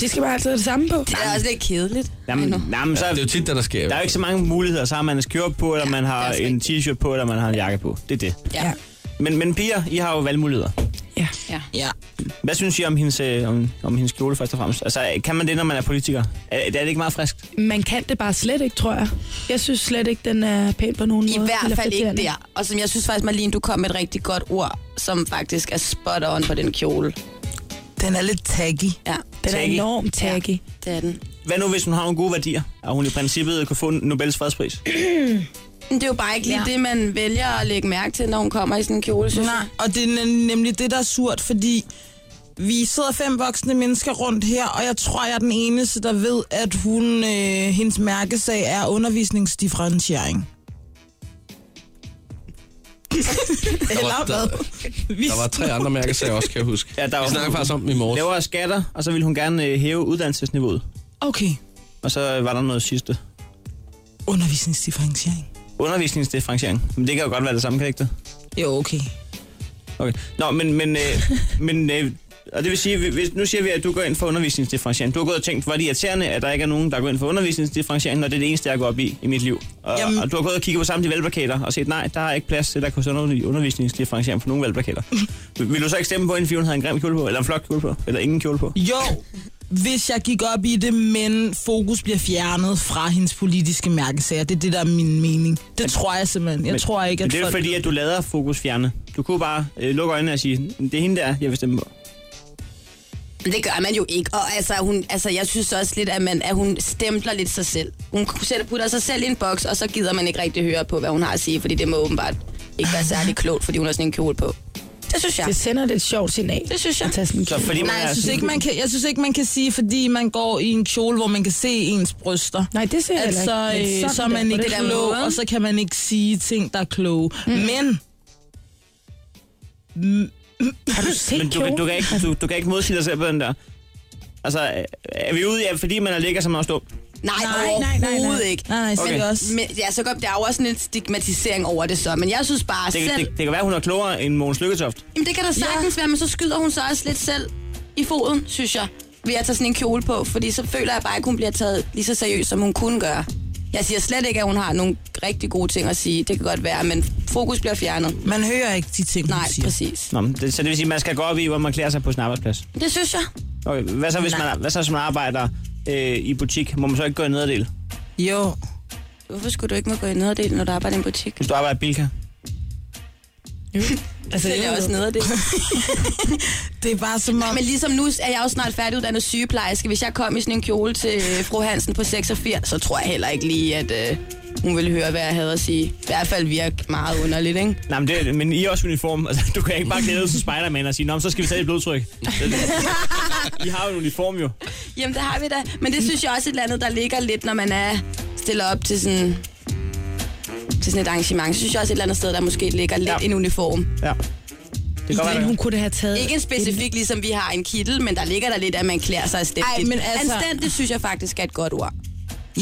De skal bare altid have det samme på. Det er også lidt kedeligt. Jamen, jamen, så, Det er jo tit, der, der sker. der er jo ikke så mange muligheder. Så har man en skjorte på, eller man har en t-shirt på, eller man har en jakke på. Det er det. Eh, Ja. Men, men piger, I har jo valgmuligheder. Ja. ja. ja. Hvad synes I om hendes, øh, om, om hendes kjole først og fremmest? Altså, kan man det, når man er politiker? Er, er det ikke meget frisk? Man kan det bare slet ikke, tror jeg. Jeg synes slet ikke, den er pæn på nogen I måde. hvert eller fald ikke flatterende. der. Og som jeg synes faktisk, Marlene, du kom med et rigtig godt ord, som faktisk er spot on på den kjole. Den er lidt taggy. Ja. Den er Taggy. enormt taggy. Ja. Det er den. Hvad nu, hvis hun har nogle gode værdier? Og hun i princippet kunne få en Nobels fredspris? Men det er jo bare ikke lige ja. det, man vælger at lægge mærke til, når hun kommer i sådan en kjole, synes Nej, jeg. og det er nem- nemlig det, der er surt, fordi vi sidder fem voksne mennesker rundt her, og jeg tror, jeg er den eneste, der ved, at hun, øh, hendes mærkesag er undervisningsdifferentiering. Der var, Eller der, hvad? Vi- der var tre andre mærkesager også, kan jeg huske. Ja, der vi snakker faktisk om dem i morges. Lavere skatter, og så ville hun gerne øh, hæve uddannelsesniveauet. Okay, Og så øh, var der noget sidste. undervisningsdifferentiering. Undervisningsdifferentiering. Men det kan jo godt være det samme, kan det ikke det? Jo, okay. Okay. Nå, men... men, øh, <laughs> men øh, og det vil sige, hvis- hvis, nu siger vi, at du går ind for undervisningsdifferentiering. Du har gået og tænkt, hvor er det irriterende, at der ikke er nogen, der går ind for undervisningsdifferentiering, når det er det eneste, jeg går op i i mit liv. Og, Jamen- og du har gået og kigget på samme de valgplakater og set, nej, der er ikke plads til, der kunne sådan noget undervisningsdifferentiering på nogen <laughs> valgplakater. vil, vil du så ikke stemme på, at en hun havde en grim kjole på, eller en flot kjole på, eller ingen kjole på? Jo, hvis jeg gik op i det, men fokus bliver fjernet fra hendes politiske mærkesager. Det er det, der er min mening. Det tror jeg simpelthen. Jeg Men- tror ikke, Men at det er jo folk... fordi, at du lader fokus fjerne. Du kunne bare øh, lukke øjnene og sige, det er hende der, jeg vil stemme på. Men det gør man jo ikke. Og altså, hun, altså, jeg synes også lidt, at, man, at hun stempler lidt sig selv. Hun selv putter sig selv i en boks, og så gider man ikke rigtig høre på, hvad hun har at sige, fordi det må åbenbart ikke være særlig klogt, fordi hun har sådan en kjole på. Det synes jeg. Det sender det et sjovt signal. Det synes jeg. At tage sådan en Så kjole. fordi man Nej, er jeg synes, sådan- ikke, man kan, jeg synes ikke, man kan sige, fordi man går i en kjole, hvor man kan se ens bryster. Nej, det ser jeg At så, heller ikke. Men øh, så er sådan man der, på ikke den klog, måde. og så kan man ikke sige ting, der er kloge. Mm. Men... Mm, Har du set Men du, kan- du, kan ikke, du, du kan ikke modsige dig selv på den der. Altså, er- er vi ude i, at fordi man er lækker, så er man også dum? Nej, Nej, nej, nej, nej, nej. ikke. nej, så Okay. okay. også. Men, ja, så kom, der er jo også en lidt stigmatisering over det så, men jeg synes bare Det, selv... det, det kan være, hun er klogere end Mogens Lykketoft. Jamen, det kan da sagtens ja. være, men så skyder hun så også lidt selv i foden, synes jeg, ved at tage sådan en kjole på, fordi så føler jeg bare ikke, hun bliver taget lige så seriøst, som hun kunne gøre. Jeg siger slet ikke, at hun har nogle rigtig gode ting at sige. Det kan godt være, men fokus bliver fjernet. Man hører ikke de ting, hun Nej, siger. præcis. Nå, men det, så det vil sige, at man skal gå op i, hvor man klæder sig på sin arbejdsplads. Det synes jeg. Okay, hvad så, hvis Nej. man, hvad så, hvis man arbejder øh, i butik? Må man så ikke gå i nederdel? Jo. Hvorfor skulle du ikke må gå i nederdel, når du arbejder i en butik? Hvis du arbejder i Bilka? Altså, Så er jeg også <laughs> nederdel. Det er bare som om... Men ligesom nu er jeg jo snart færdiguddannet sygeplejerske. Hvis jeg kom i sådan en kjole til øh, fru Hansen på 86, så tror jeg heller ikke lige, at øh, hun ville høre, hvad jeg havde at sige. I hvert fald virke meget underligt, ikke? Nej, men, det, men I er også i uniform. Altså, du kan ikke bare klæde dig som Spider-Man og sige, Nå, men så skal vi tage <laughs> et blodtryk. I har jo en uniform jo. Jamen, det har vi da. Men det synes jeg også er et eller andet, der ligger lidt, når man er stiller op til sådan, til sådan et arrangement. Så synes jeg også et eller andet sted, der måske ligger lidt Ja. ja. en uniform. Ja. Det kan godt Men være. hun kunne da have taget... Ikke en specifik, ligesom vi har en kittel, men der ligger der lidt, at man klæder sig anstændigt. Ej, men altså- Anstændigt synes jeg faktisk er et godt ord.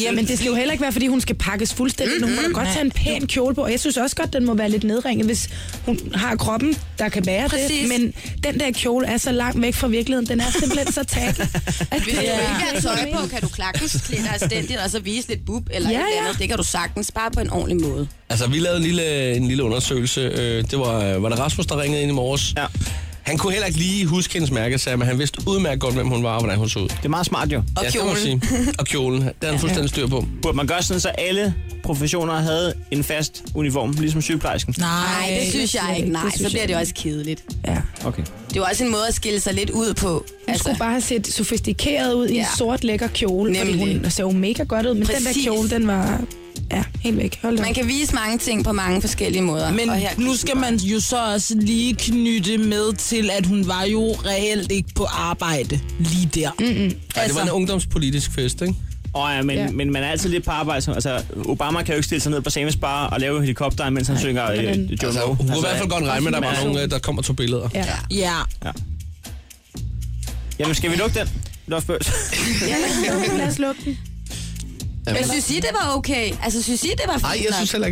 Ja, men det skal jo heller ikke være, fordi hun skal pakkes fuldstændig. Mm-hmm. Hun må da godt tage en pæn kjole på, og jeg synes også godt, den må være lidt nedringet, hvis hun har kroppen, der kan bære Præcis. det. Men den der kjole er så langt væk fra virkeligheden. Den er simpelthen så tag. Hvis du ikke har tøj på, kan du klakkes klæde dig anstændigt, og så vise lidt bub eller Ja, ja, et eller ja. andet. Det kan du sagtens, bare på en ordentlig måde. Altså, vi lavede en lille, en lille undersøgelse. Øh, Det var, øh, var det Rasmus, der ringede ind i morges. Ja. Han kunne heller ikke lige huske hendes mærkesager, men han vidste udmærket godt, hvem hun var og hvordan hun så ud. Det er meget smart jo. Og ja, det må man kjolen. sige. Og kjolen. Det er han fuldstændig styr på. Burde man gøre sådan, så alle professioner havde en fast uniform, ligesom sygeplejersken? Nej, det synes jeg ikke. Nej, Det så synes bliver jeg det også kedeligt. Ja. Okay. Det er jo også en måde at skille sig lidt ud på. Hun skulle bare have set sofistikeret ud i en Altså- Ja. sort, lækker kjole, Nemlig. fordi Nemlig. hun så jo mega godt ud, men Præcis. den der Præcis. kjole, den var ja, helt væk. Hold da op. Man kan vise mange ting på mange forskellige måder. Men og her nu skal man jo så også lige knytte med til, at hun var jo reelt ikke på arbejde lige der. Altså- Mm-mm. Altså. Ej, det var en ungdomspolitisk fest, ikke? Og, ja, men, Ja. ja. men man er altid lidt på arbejde. som- Altså, Obama kan jo ikke stille sig ned på Samus Bar og lave helikopteren, mens han synger øh, hvordan? Joe Moe. Altså, hun kunne i hvert fald godt regne med, at der altså, var nogen, øh, der kommer to billeder. Ja. Ja. ja. Jamen, skal vi lukke den? Lofbøs. Ja, lad os lukke den. Men synes I, det var okay? Altså, synes I, det var fint nok? jeg synes, det, er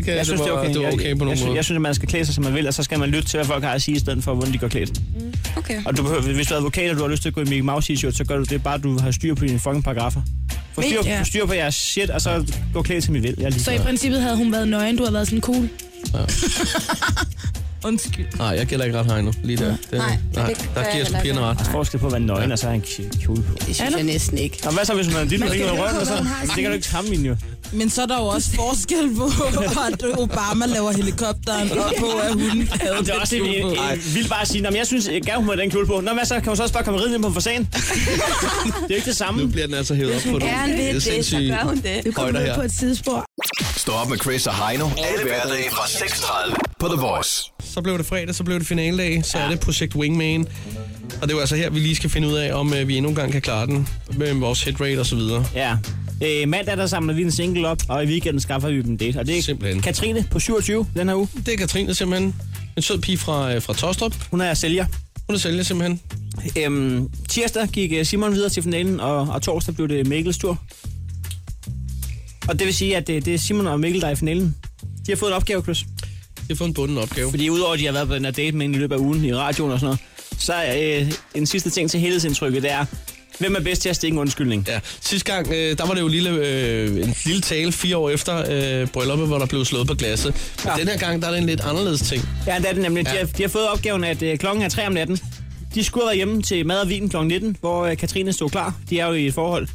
okay. det var okay på jeg, nogen jeg, synes, måde. jeg synes, at man skal klæde sig, som man vil, og så skal man lytte til, hvad folk har at sige, i stedet for, hvordan de går klædt. Okay. Og du behøver, hvis du er advokat, og du har lyst til at gå i Mickey Mouse t-shirt, så gør du det bare, du har styr på dine fucking paragrafer. Få Men- styr, ja. ja. styr på jeres shit, og så gå klædt, som I vil. Jeg er lige Så i princippet havde hun været nøgen, du havde været sådan cool. <laughs> Undskyld. Nej, jeg gælder ikke ret her endnu. Lige der. Det, Nej, det nej. kan jeg Der giver sgu heller pigerne ikke. ret. Der er forskel på at være nøgen, og så have en kjole på. Det synes jeg næsten ikke. Og hvad så, hvis man har dit Man med skal noget høre rødt, på, og så... hvad hun har Men det at kan du sige. ikke sammenligne jo. Men så er der jo også forskel på, at Obama laver helikopteren, og på, at <laughs> hun havde det er også en, en, en vild bare at sige, "Nå, men jeg synes, jeg gerne hun må have den kjole på. Nå, hvad så? Kan hun så også bare komme ridende på en <laughs> fasan? det er jo ikke det samme. Nu bliver den altså hævet op på nogle Gerne vil det, så sindssyge gør hun det. Nu kommer højder vi ud her. på et sidespor. Stå op med Chris og Heino. Alle hverdage fra 6.30 på The Voice. Så blev det fredag, så blev det finaledag, så er det projekt Wingman. Og det er jo altså her, vi lige skal finde ud af, om øh, vi endnu en gang kan klare den med vores hitrate og så videre. Ja. Øh, mandag, der samler vi en single op, og i weekenden skaffer vi dem det. Og det er Simpelthen. Katrine på 27 den her uge. Det er Katrine simpelthen. En sød pige fra, øh, fra Tostrup. Hun er sælger. Hun er sælger simpelthen. Øhm, tirsdag gik øh, Simon videre til finalen, og, og torsdag blev det Mikkels tur. Og det vil sige, at det, det er Simon og Mikkel, der er i finalen. De har fået en opgave, Chris. De har fået en bunden opgave. Fordi udover at de har været på den her date med en i løbet af ugen i radioen og sådan noget, så er øh, en sidste ting til helhedsindtrykket, det er, hvem er bedst til at stikke en undskyldning? Ja. Sidste gang, øh, der var det jo lille, øh, en lille tale fire år efter øh, brylluppet, hvor der blev slået på glasset. Men ja. den her gang, der er det en lidt anderledes ting. Ja, det er det nemlig. De, Ja. har, de har fået opgaven, at øh, klokken er 3 om natten. De skulle have været hjemme til mad og vin kl. 19, hvor øh, Katrine stod klar. De er jo i et forhold.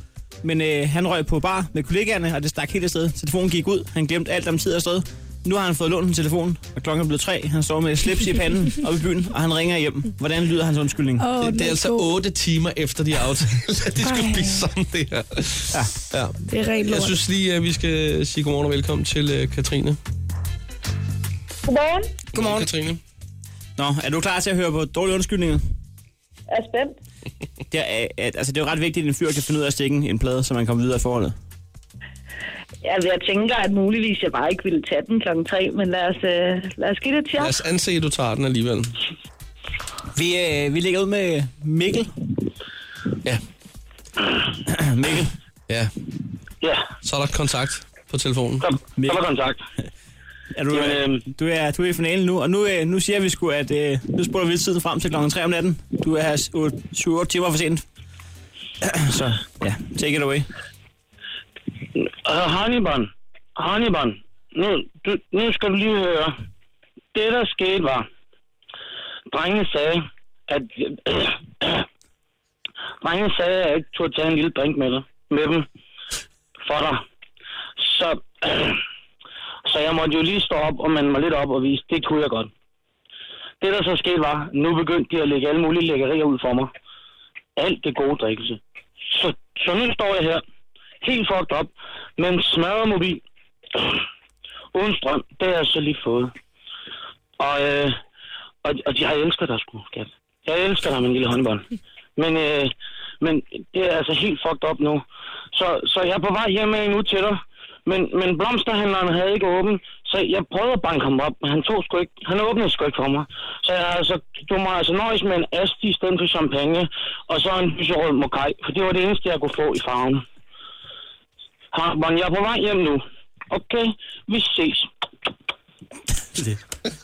Men øh, han røg på bar med kollegaerne, og det stak helt afsted. Telefonen gik ud. Han glemte alt om tid og sted. Nu har han fået lånt en telefon, og klokken er blevet 3. Han står med slips i panden op i byen, og han ringer hjem. Hvordan lyder hans undskyldning? Åh, det, det er altså otte timer efter de <laughs> aftalte, at de skulle spise sammen det her. Ja. ja. Det er rent lort. Jeg synes lige, at vi skal sige godmorgen og velkommen til øh, Katrine. Godmorgen. Godmorgen. Katrine. Nå, er du klar til at høre på dårlige undskyldninger? Jeg er spændt. Det er, øh, at- altså, det er jo ret vigtigt, at en fyr kan finde ud af at stikke en plade, så man kommer videre i forholdet. Altså, jeg tænker, at muligvis jeg bare ikke ville tage den klokken 3, men lad os, øh, lad os give det et Lad chance. os anse, at du tager den alligevel. Vi, øh, vi ligger ud med Mikkel. Ja. <clears throat> Mikkel. Ja. Ja. Så er der kontakt på telefonen. Kom, Mikkel. der var kontakt. <laughs> Er du, Jamen, Jamen, øhm. øh, du, er, du er i finalen nu, og nu, øh, nu siger vi sgu, at øh, nu spurgte vi tiden frem til klokken 3 om natten. Du er 7-8 timer for sent. <clears throat> Så ja, take it away. Uh, Hannibal, Hannibal, nu, du, nu skal du lige høre. Det, der skete, var, drengene sagde, at... <clears throat> drengene sagde, at jeg ikke turde tage en lille drink med, dig, med dem for dig. Så, <clears throat> så jeg måtte jo lige stå op og mande mig lidt op og vise, det kunne jeg godt. Det, der så skete, var, nu begyndte de at lægge alle mulige lækkerier ud for mig. Alt det gode drikkelse. Så, så nu står jeg her, helt fucked op, med en smadret mobil, uden strøm, det har jeg så lige fået. Og, øh, og, og jeg elsker dig sgu, skat. Jeg elsker dig, min lille håndbold. Men, øh, men det er altså helt fucked op nu. Så, så jeg er på vej hjem med en ud til dig. Men, men blomsterhandleren havde ikke åben, så jeg prøvede at banke ham op, men han tog sgu ikke, han åbnede sgu ikke for mig. Så jeg altså, du må altså nøjes med en asti i stedet for champagne, og så en lyserød mokaj, for det var det eneste, jeg kunne få i farven. Hartmann, jeg er på vej hjem nu. Okay, vi ses. Det,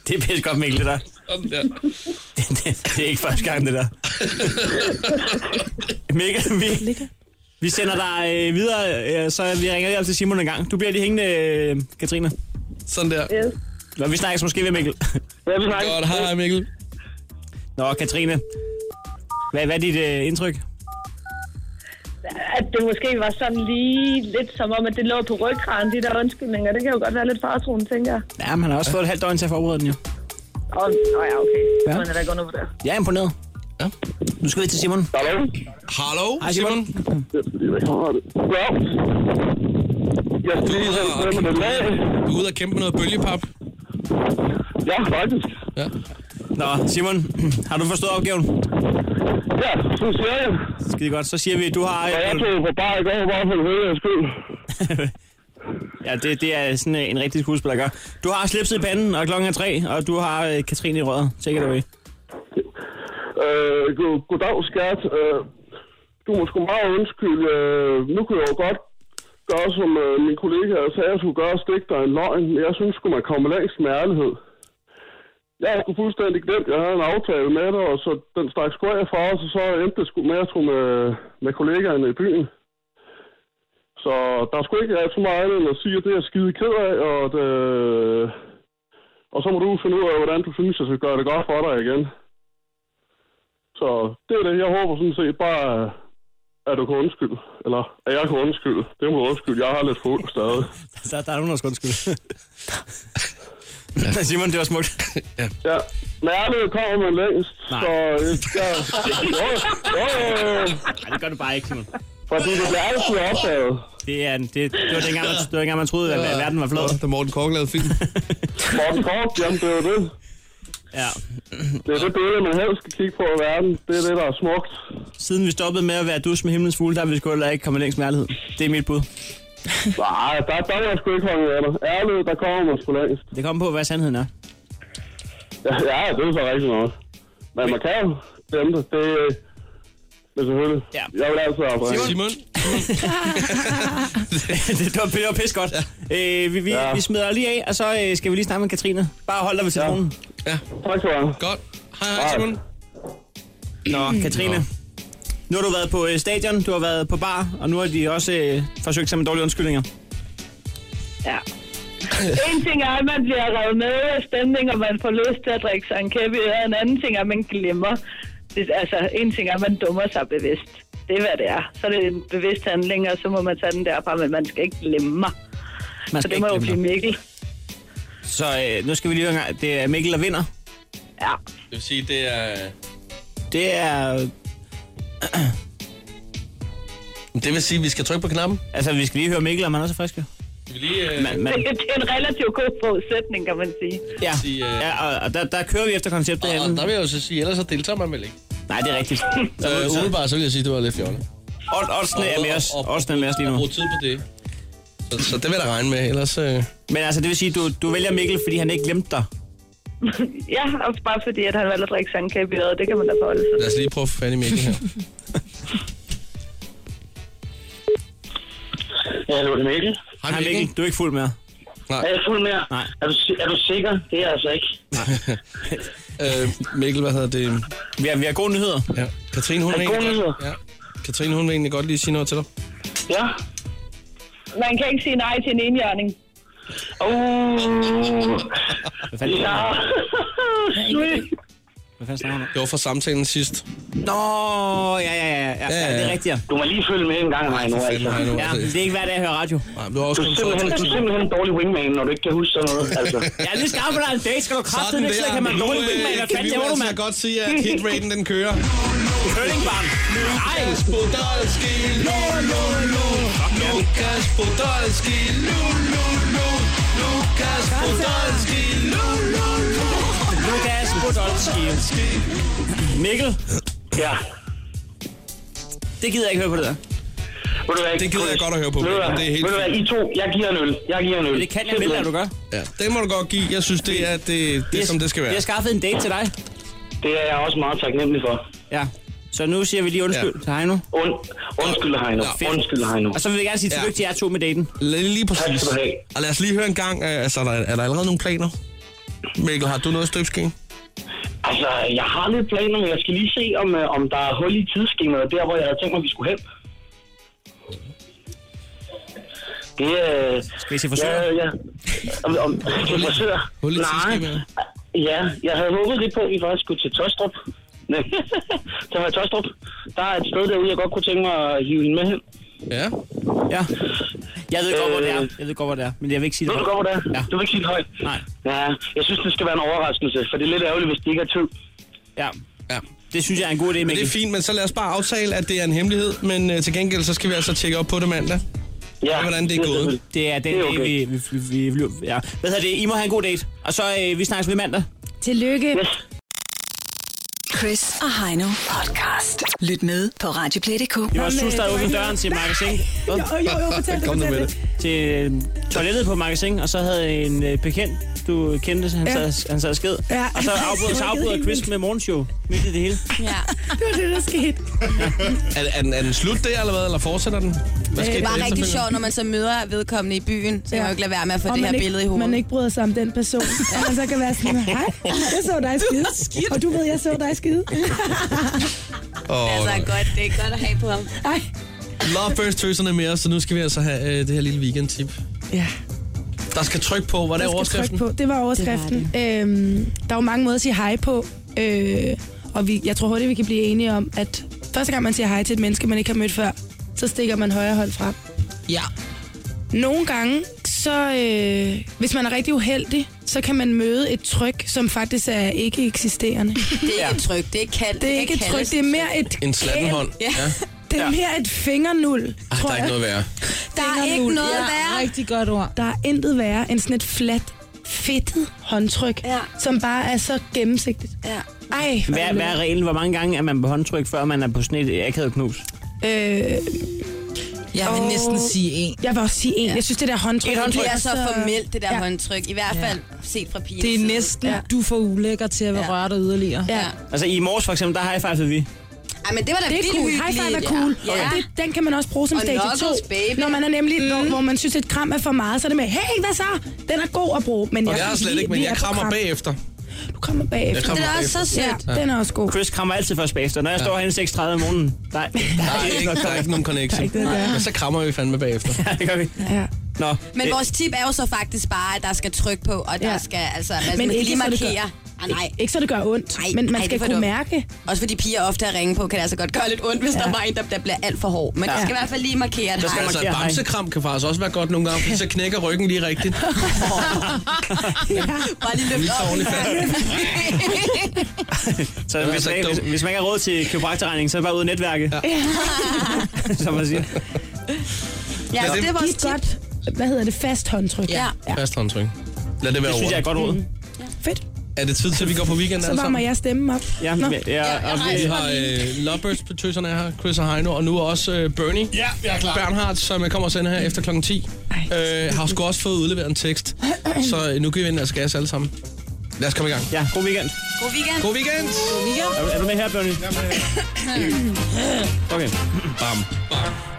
det er pisse godt, Mikkel, det der. <laughs> Det, det, det er ikke første gang, det der. Mikkel, vi, vi sender dig øh, videre, øh, så vi ringer lige op til Simon en gang. Du bliver lige hængende, øh, Katrine. Sådan der. Yes. Nå, vi snakkes måske ved Mikkel. Ja, vi snakkes. Godt, hej, hej Mikkel. Nå, Katrine. Hvad, hvad er dit øh, indtryk? At det måske var sådan lige lidt som om, at det lå på ryggraden, de der undskyldninger. Det kan jo godt være lidt faretroen, tænker jeg. Ja, man har også fået et halvt døgn til at forberede den jo. Og, oh, ja, okay. Ja. Ja. Man er da ikke undervurderet. Jeg er imponeret. Ja. Nu skal vi til Simon. Hallo? Hallo, Hej, Simon. Ja. Jeg skal lige have noget med noget Du er ude og kæmpe med noget bølgepap. Ja, faktisk. Ja. <clears throat> Nå, Simon, har du forstået opgaven? Ja. sådan siger jeg. Skide godt, så siger vi, at du har... Og jeg tog på bar i går, bare for helvede skyld. <laughs> Ja, det, det er sådan øh, en rigtig skuespiller gør. Du har slipset i panden, og klokken er tre, og du har øh, Katrine i røret. Take it away. <laughs> Øh, god, goddag, skat. Øh, du må sgu meget undskylde. Øh, nu kunne jeg jo godt gøre, som øh, min kollega sagde, jeg skulle gøre, stik dig en løgn. Men jeg synes sgu, man kommer længst med ærlighed. Jeg har sgu fuldstændig glemt, jeg havde en aftale med dig, og så den stak sgu af fra os, og så endte det sgu med at tro med, med kollegaerne i byen. Så der er sgu ikke alt så meget andet end at sige, at det er jeg skide ked af, og, at, øh, og så må du finde ud af, hvordan du synes, jeg skal gøre det godt for dig igen. Så det er det. Jeg håber sådan set bare, at du kan undskylde. Eller at jeg kan undskylde. Det må du undskylde. Jeg har lidt fuld <laughs> stadig. Der, der er nogen, der skal undskylde. <laughs> Ja. Simon, det var smukt. ja. ja. Men ærlighed kommer man længst. Nej. Så øh, jeg... Jo, jo, jo. Nej, det gør du bare ikke, Simon. Fordi det bliver altid opdaget. Det, er, en- det, det, var dengang, man, det var dengang, man troede, at verden var flad. Da Morten Kork lavede film. <laughs> Morten Kork, jamen det er jo det. Ja. Det er det billede, man helst skal kigge på i verden. Det er det, der er smukt. Siden vi stoppede med at være dus med himlens fugle, der er vi sgu heller ikke kommet længst med ærlighed. Det er mit bud. Nej, der, der er jeg sgu ikke holde af dig. Ærlighed, der kommer man sgu længst. Det kommer på, hvad sandheden er. Ja, ja, det er så rigtigt nok. Men man kan jo glemme det. Det øh, men selvfølgelig. Ja. Jeg vil altså altid arbejde. Simon? <laughs> det, var, det var pis godt. Ja. Øh, vi, vi, ja. vi smider lige af, og så øh, skal vi lige snakke med Katrine. Bare hold dig ved telefonen. Ja. Tak skal du have. Godt. Hej, hej, Simon. Nå, Katrine. Mm. Nå. Nu har du været på øh, stadion, du har været på bar, og nu har de også øh, forsøgt sig med dårlige undskyldninger. Ja. En ting er, at man bliver revet med af stemning, og man får lyst til at drikke sig en kæppe i øret. En anden ting er, at man glemmer. Det, altså, en ting er, at man dummer sig bevidst. Det er, hvad det er. Så er det en bevidst handling, og så må man tage den derfra, men man skal ikke glemme mig. Man Så skal det må ikke jo blive glemme Mikkel. Så øh, nu skal vi lige høre en gang. Det er Mikkel, der vinder. Ja. Det vil sige, det er... Det er... Det vil sige, at vi skal trykke på knappen? Altså, vi skal lige høre Mikkel, om han også er frisk. jo. Skal vi lige... Øh... Man, man, Det, det er en relativt god forudsætning, kan man sige. ja, ja og, og der, der kører vi efter konceptet øh, Og der vil jeg jo så sige, ellers så deltager man vel ikke. Nej, det er rigtigt. <laughs> Så, øh, umiddelbart, så vil jeg sige, at det var lidt fjollet. Og Oddsene er med os. Oddsene er med os lige nu. bruge tid på det. Så, så det vil jeg da regne med, ellers... Øh... Men altså, det vil sige, du, du vælger Mikkel, fordi han ikke glemte dig. <laughs> Ja, og bare fordi, at han valgte at drikke sig en kæppe i øret. Det kan man da forholde sig. Lad os lige prøve at få fat i Mikkel her. Ja, hallo, det er Mikkel. Hej Mikkel, du er ikke fuld mere. Nej. Er jeg fuld mere? Nej. Er du, si- er du sikker? Det er jeg altså ikke. <laughs> øh, Mikkel, hvad hedder det? Vi har, vi har gode nyheder. Ja. Katrine, hun Har vil I egentlig gode godt, ja. Katrine, hun vil egentlig godt lige sige noget til dig. Ja. Man kan ikke sige nej til en enhjørning. <laughs> Uh. Ja. Sweet. Hvad fanden snakker du om? Det var fra samtalen sidst. Nå, ja, ja, ja, ja, ja, ja. det er rigtigt, ja. Du må lige følge med en gang, Heino. for Altså. fanden, Heino, Ja, altså. men det er ikke hver dag, jeg hører radio. Nej, men du har også Du er simpelthen, du er simpelthen en dårlig wingman, når du ikke kan huske sådan noget. Altså. Jeg er lige skarp på dig en dag, skal du kræfte den, så kan man dårlig øh, wingman. Hvad kan fanden vi jo laver du, altså mand? godt sige, at hitraten den kører. Køllingbarn. Nej. Podolski, nu, nu, nu. Lukas Podolski, nu, nu, nu. Lukas Podolski, nu, nu, nu. Lukas Podolski. Mikkel, Ja. det gider jeg ikke høre på det der. Ved du hvad, Det gider jeg godt at høre på, Ved du men hvad, det er helt ved du hvad, I to, jeg giver en øl. Jeg giver en øl. Men det kan jeg vel, at du gør. Ja, den må du godt give. Jeg synes, det er det, det, er, som det skal være. Jeg har skaffet en date til dig. Det er jeg også meget taknemmelig for. Ja. Så nu siger vi lige undskyld til Heino. Und, undskyld, Heino. Nå, fedt. Undskyld, Heino. Og så vil jeg gerne sige Ja. tillykke til jer to med daten. Lige, lige Tak præcis. skal du have. Og lad os lige høre en gang, øh, altså, er der, er der allerede nogle planer? Mikkel, har du noget støbsken? Altså, jeg har lidt planer, men jeg skal lige se, om, øh, om der er hul i tidsskemaet, der hvor jeg havde tænkt mig, vi skulle hen. Det er... Skal I se forsøger? Ja, ja. Om, om, til frisør? Hul i Nej. tidsskemaet. Ja, jeg havde håbet lidt på, at vi faktisk skulle til Tostrup. Nej, <laughs> til Høje Tostrup. Der er et sted derude, jeg godt kunne tænke mig at hive hende med hen. Ja. Ja. Jeg ved godt, hvor det er. Øh. Jeg ved godt, hvor det er. Men jeg vil ikke sige Ved det. du godt, hvor det er? Ja. Du vil ikke sige det højt? Nej. Ja, jeg synes, det skal være en overraskelse, for det er lidt ærgerligt, hvis det ikke er tid. Ja. Ja. Det synes jeg er en god idé, Men det Mikkel. er fint, men så lad os bare aftale, at det er en hemmelighed. Men øh, til gengæld, så skal vi altså tjekke op på det mandag. Ja, Og hvordan det er gået. selvfølgelig. Det er Det den det er er okay. dag, vi, vi, vi, vi, ja. Hvad hedder det? I må have en god date. Og så øh, vi snakkes ved mandag. Tillykke. Yes. Chris og Heino podcast. Lyt med på Radioplay.dk. Det var sus, der åbnede døren til magasin. Jo, jo, jo, fortæl det, Kom nu med fortæl Til øh, toilettet på magasin, og så havde en øh, bekendt, du kendte, han, Ja. ja. sad, han sad og sked. Ja. Og så afbryder, så <laughs> afbryder Chris med morgenshow midt i det hele. Ja. det var det, der skete. Er, er, den, er den slut der, eller hvad? Eller fortsætter den? Hvad skete det var der rigtig efterfølgende? sjovt, når man så møder vedkommende i byen, så kan man jo ikke lade være med at få Og det her man ikke, billede i hovedet. man ikke bryder sig om den <laughs> person. ja. Og man så kan være sådan, hej, jeg så dig skide. Og du ved, jeg så dig skide. Åh, altså, godt, det er godt at have på ham. Ej. Love First Tøserne er med os, så nu skal vi altså have øh, det her lille weekend-tip. Ja. Der skal tryk på. Var det Der skal overskriften? trykke På. Det var overskriften. Det var det. Øhm, der er jo mange måder at sige hej på, øh, og vi, jeg tror hurtigt, vi kan blive enige om, at første gang man siger hej til et menneske, man ikke har mødt før, så stikker man højre hånd frem. Ja. Nogle gange, så øh, hvis man er rigtig uheldig, så kan man møde et tryk, som faktisk er ikke <laughs> eksisterende. Det er ikke et tryk, det er ikke kaldt. Det er ikke et tryk, det er mere et En slatten hånd. Ja. <laughs> Det er mere et fingernul, Ej, tror der er jeg. ikke noget værre. Der er Fingernul. ikke noget Ja, værre. Rigtig godt ord. Der er intet værre end sådan et fladt, fedtet håndtryk, ja. som bare er så gennemsigtigt. Ja. Ej, hvor Hvad, hvad er det reglen? Hvor mange gange er man på håndtryk, før man er på sådan et akavet knus? Øh, Jeg vil åh, næsten sige en. Jeg vil også sige en. Ja. Jeg synes, det der håndtryk... Et håndtryk. Det er så formelt, det der ja. håndtryk. I hvert fald set fra pigen. Det er næsten, ja. du får ulækker til at ja. røre dig yderligere. Ja. Altså i morges for eksempel, der high-fivede vi. Ej, men det var da det er vildt cool. hyggeligt. High five er cool. Ja. Ja. Det, den kan man også bruge som Og stage 2. knuckles, baby. Når man er nemlig, mm. hvor, hvor man synes, et kram er for meget, så er det med, hey, hvad så? Den er god at bruge. Men Og jeg, jeg er slet vi- ikke, men vi jeg er på krammer kram. bagefter. Du krammer bagefter. Jeg krammer bagefter. Ja, den er også god. Chris krammer altid først bagefter. Når jeg står herinde 6.30 om morgenen, der er, der Der er ikke, der er ikke nogen connection. noget der. Men så krammer vi fandme bagefter. Ja, det gør vi. Ja. Nå, Men det- vores tip er jo så faktisk bare, at der skal tryk på, og der Ja. skal altså, man Men skal ikke lige så det gør- markere. Ah, nej. Ikke så det gør ondt, Ej, men man ej, skal det var kunne dumt. mærke. Også fordi piger ofte at ringe på, kan det altså godt gøre lidt ondt, hvis ja. der er en, der, der bliver alt for hård. Men ja. der Ja. skal i hvert fald lige markere et Der skal hej. altså, et bamsekram kan faktisk også være godt nogle gange, fordi så knækker ryggen lige rigtigt. Bare lige løfte Lige så op. ordentligt fat. så hvis man, ikke, hvis, hvis man ikke har råd til kiropraktorregning, så er det bare ud af netværket, ja. <laughs> som man siger. Ja, Lad så dem- det var et godt, hvad hedder det, fast håndtryk. Ja. ja. Fast håndtryk. Lad det være Det synes jeg er et godt råd. Fedt. Er det tid til, at vi går på weekend Så alle varmer sammen? jeg stemmen op. Ja, Nå. ja, ja, og Vi vi, har øh, Lovebirds på tøserne her, Chris og Heino, og nu også øh, Bernie. Ja, jeg er klar. Bernhard, som øh, kommer og sender her efter klokken 10, øh, har sgu også fået udleveret en tekst. Så øh, nu giver vi den altså gas alle sammen. Lad os komme i gang. Ja, god weekend. God weekend. God weekend. God weekend. er, er du med her, Bernie? Okay. Bam.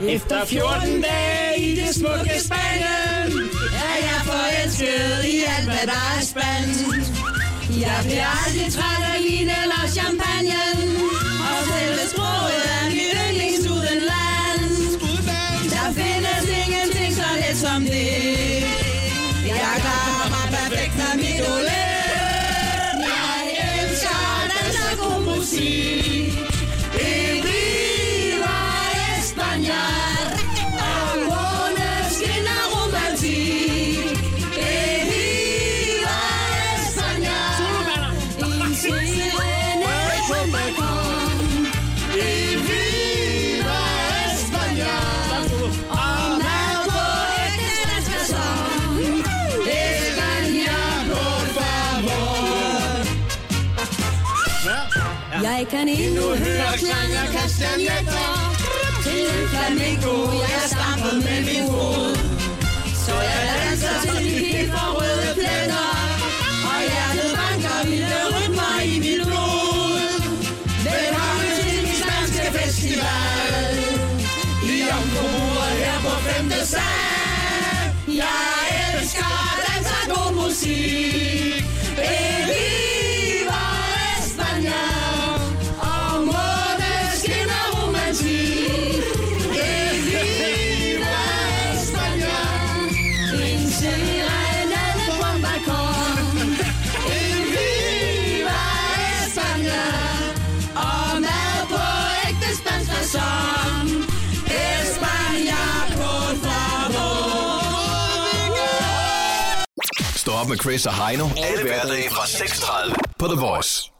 Efter 14 dage i det smukke Spanien er jeg forelsket i alt, hvad der er spændende. Jeg bliver aldrig træt af vin eller champagne. Og selve sproget er mit yndlingsudenland. Der findes ingenting så let som det. Jeg klarer mig perfekt af mit olé. Jeg elsker dans og god musik. E viva España. Og månen skinner romantik. E viva España. En sirene på balkon. E viva España. Og mad på ægte statsfacon. España, por favor. Jeg kan endnu høre klang af kastanjetter Til en flamingo, jeg stampede med min fod Så jeg danser til de helt forrøde pletter Og hjertet banker vilde rytmer i mit blod Velkommen til min spanske festival Lige om på bordet her på femte sal Jeg elsker dans og god musik Viva España Og månen skinner romantik Viva España En serenade på en balkon Viva España Og mad på ægte spansk fasong España, por favor Stå op med Chris og Heino. Alle hverdage fra 6.30 på The Voice.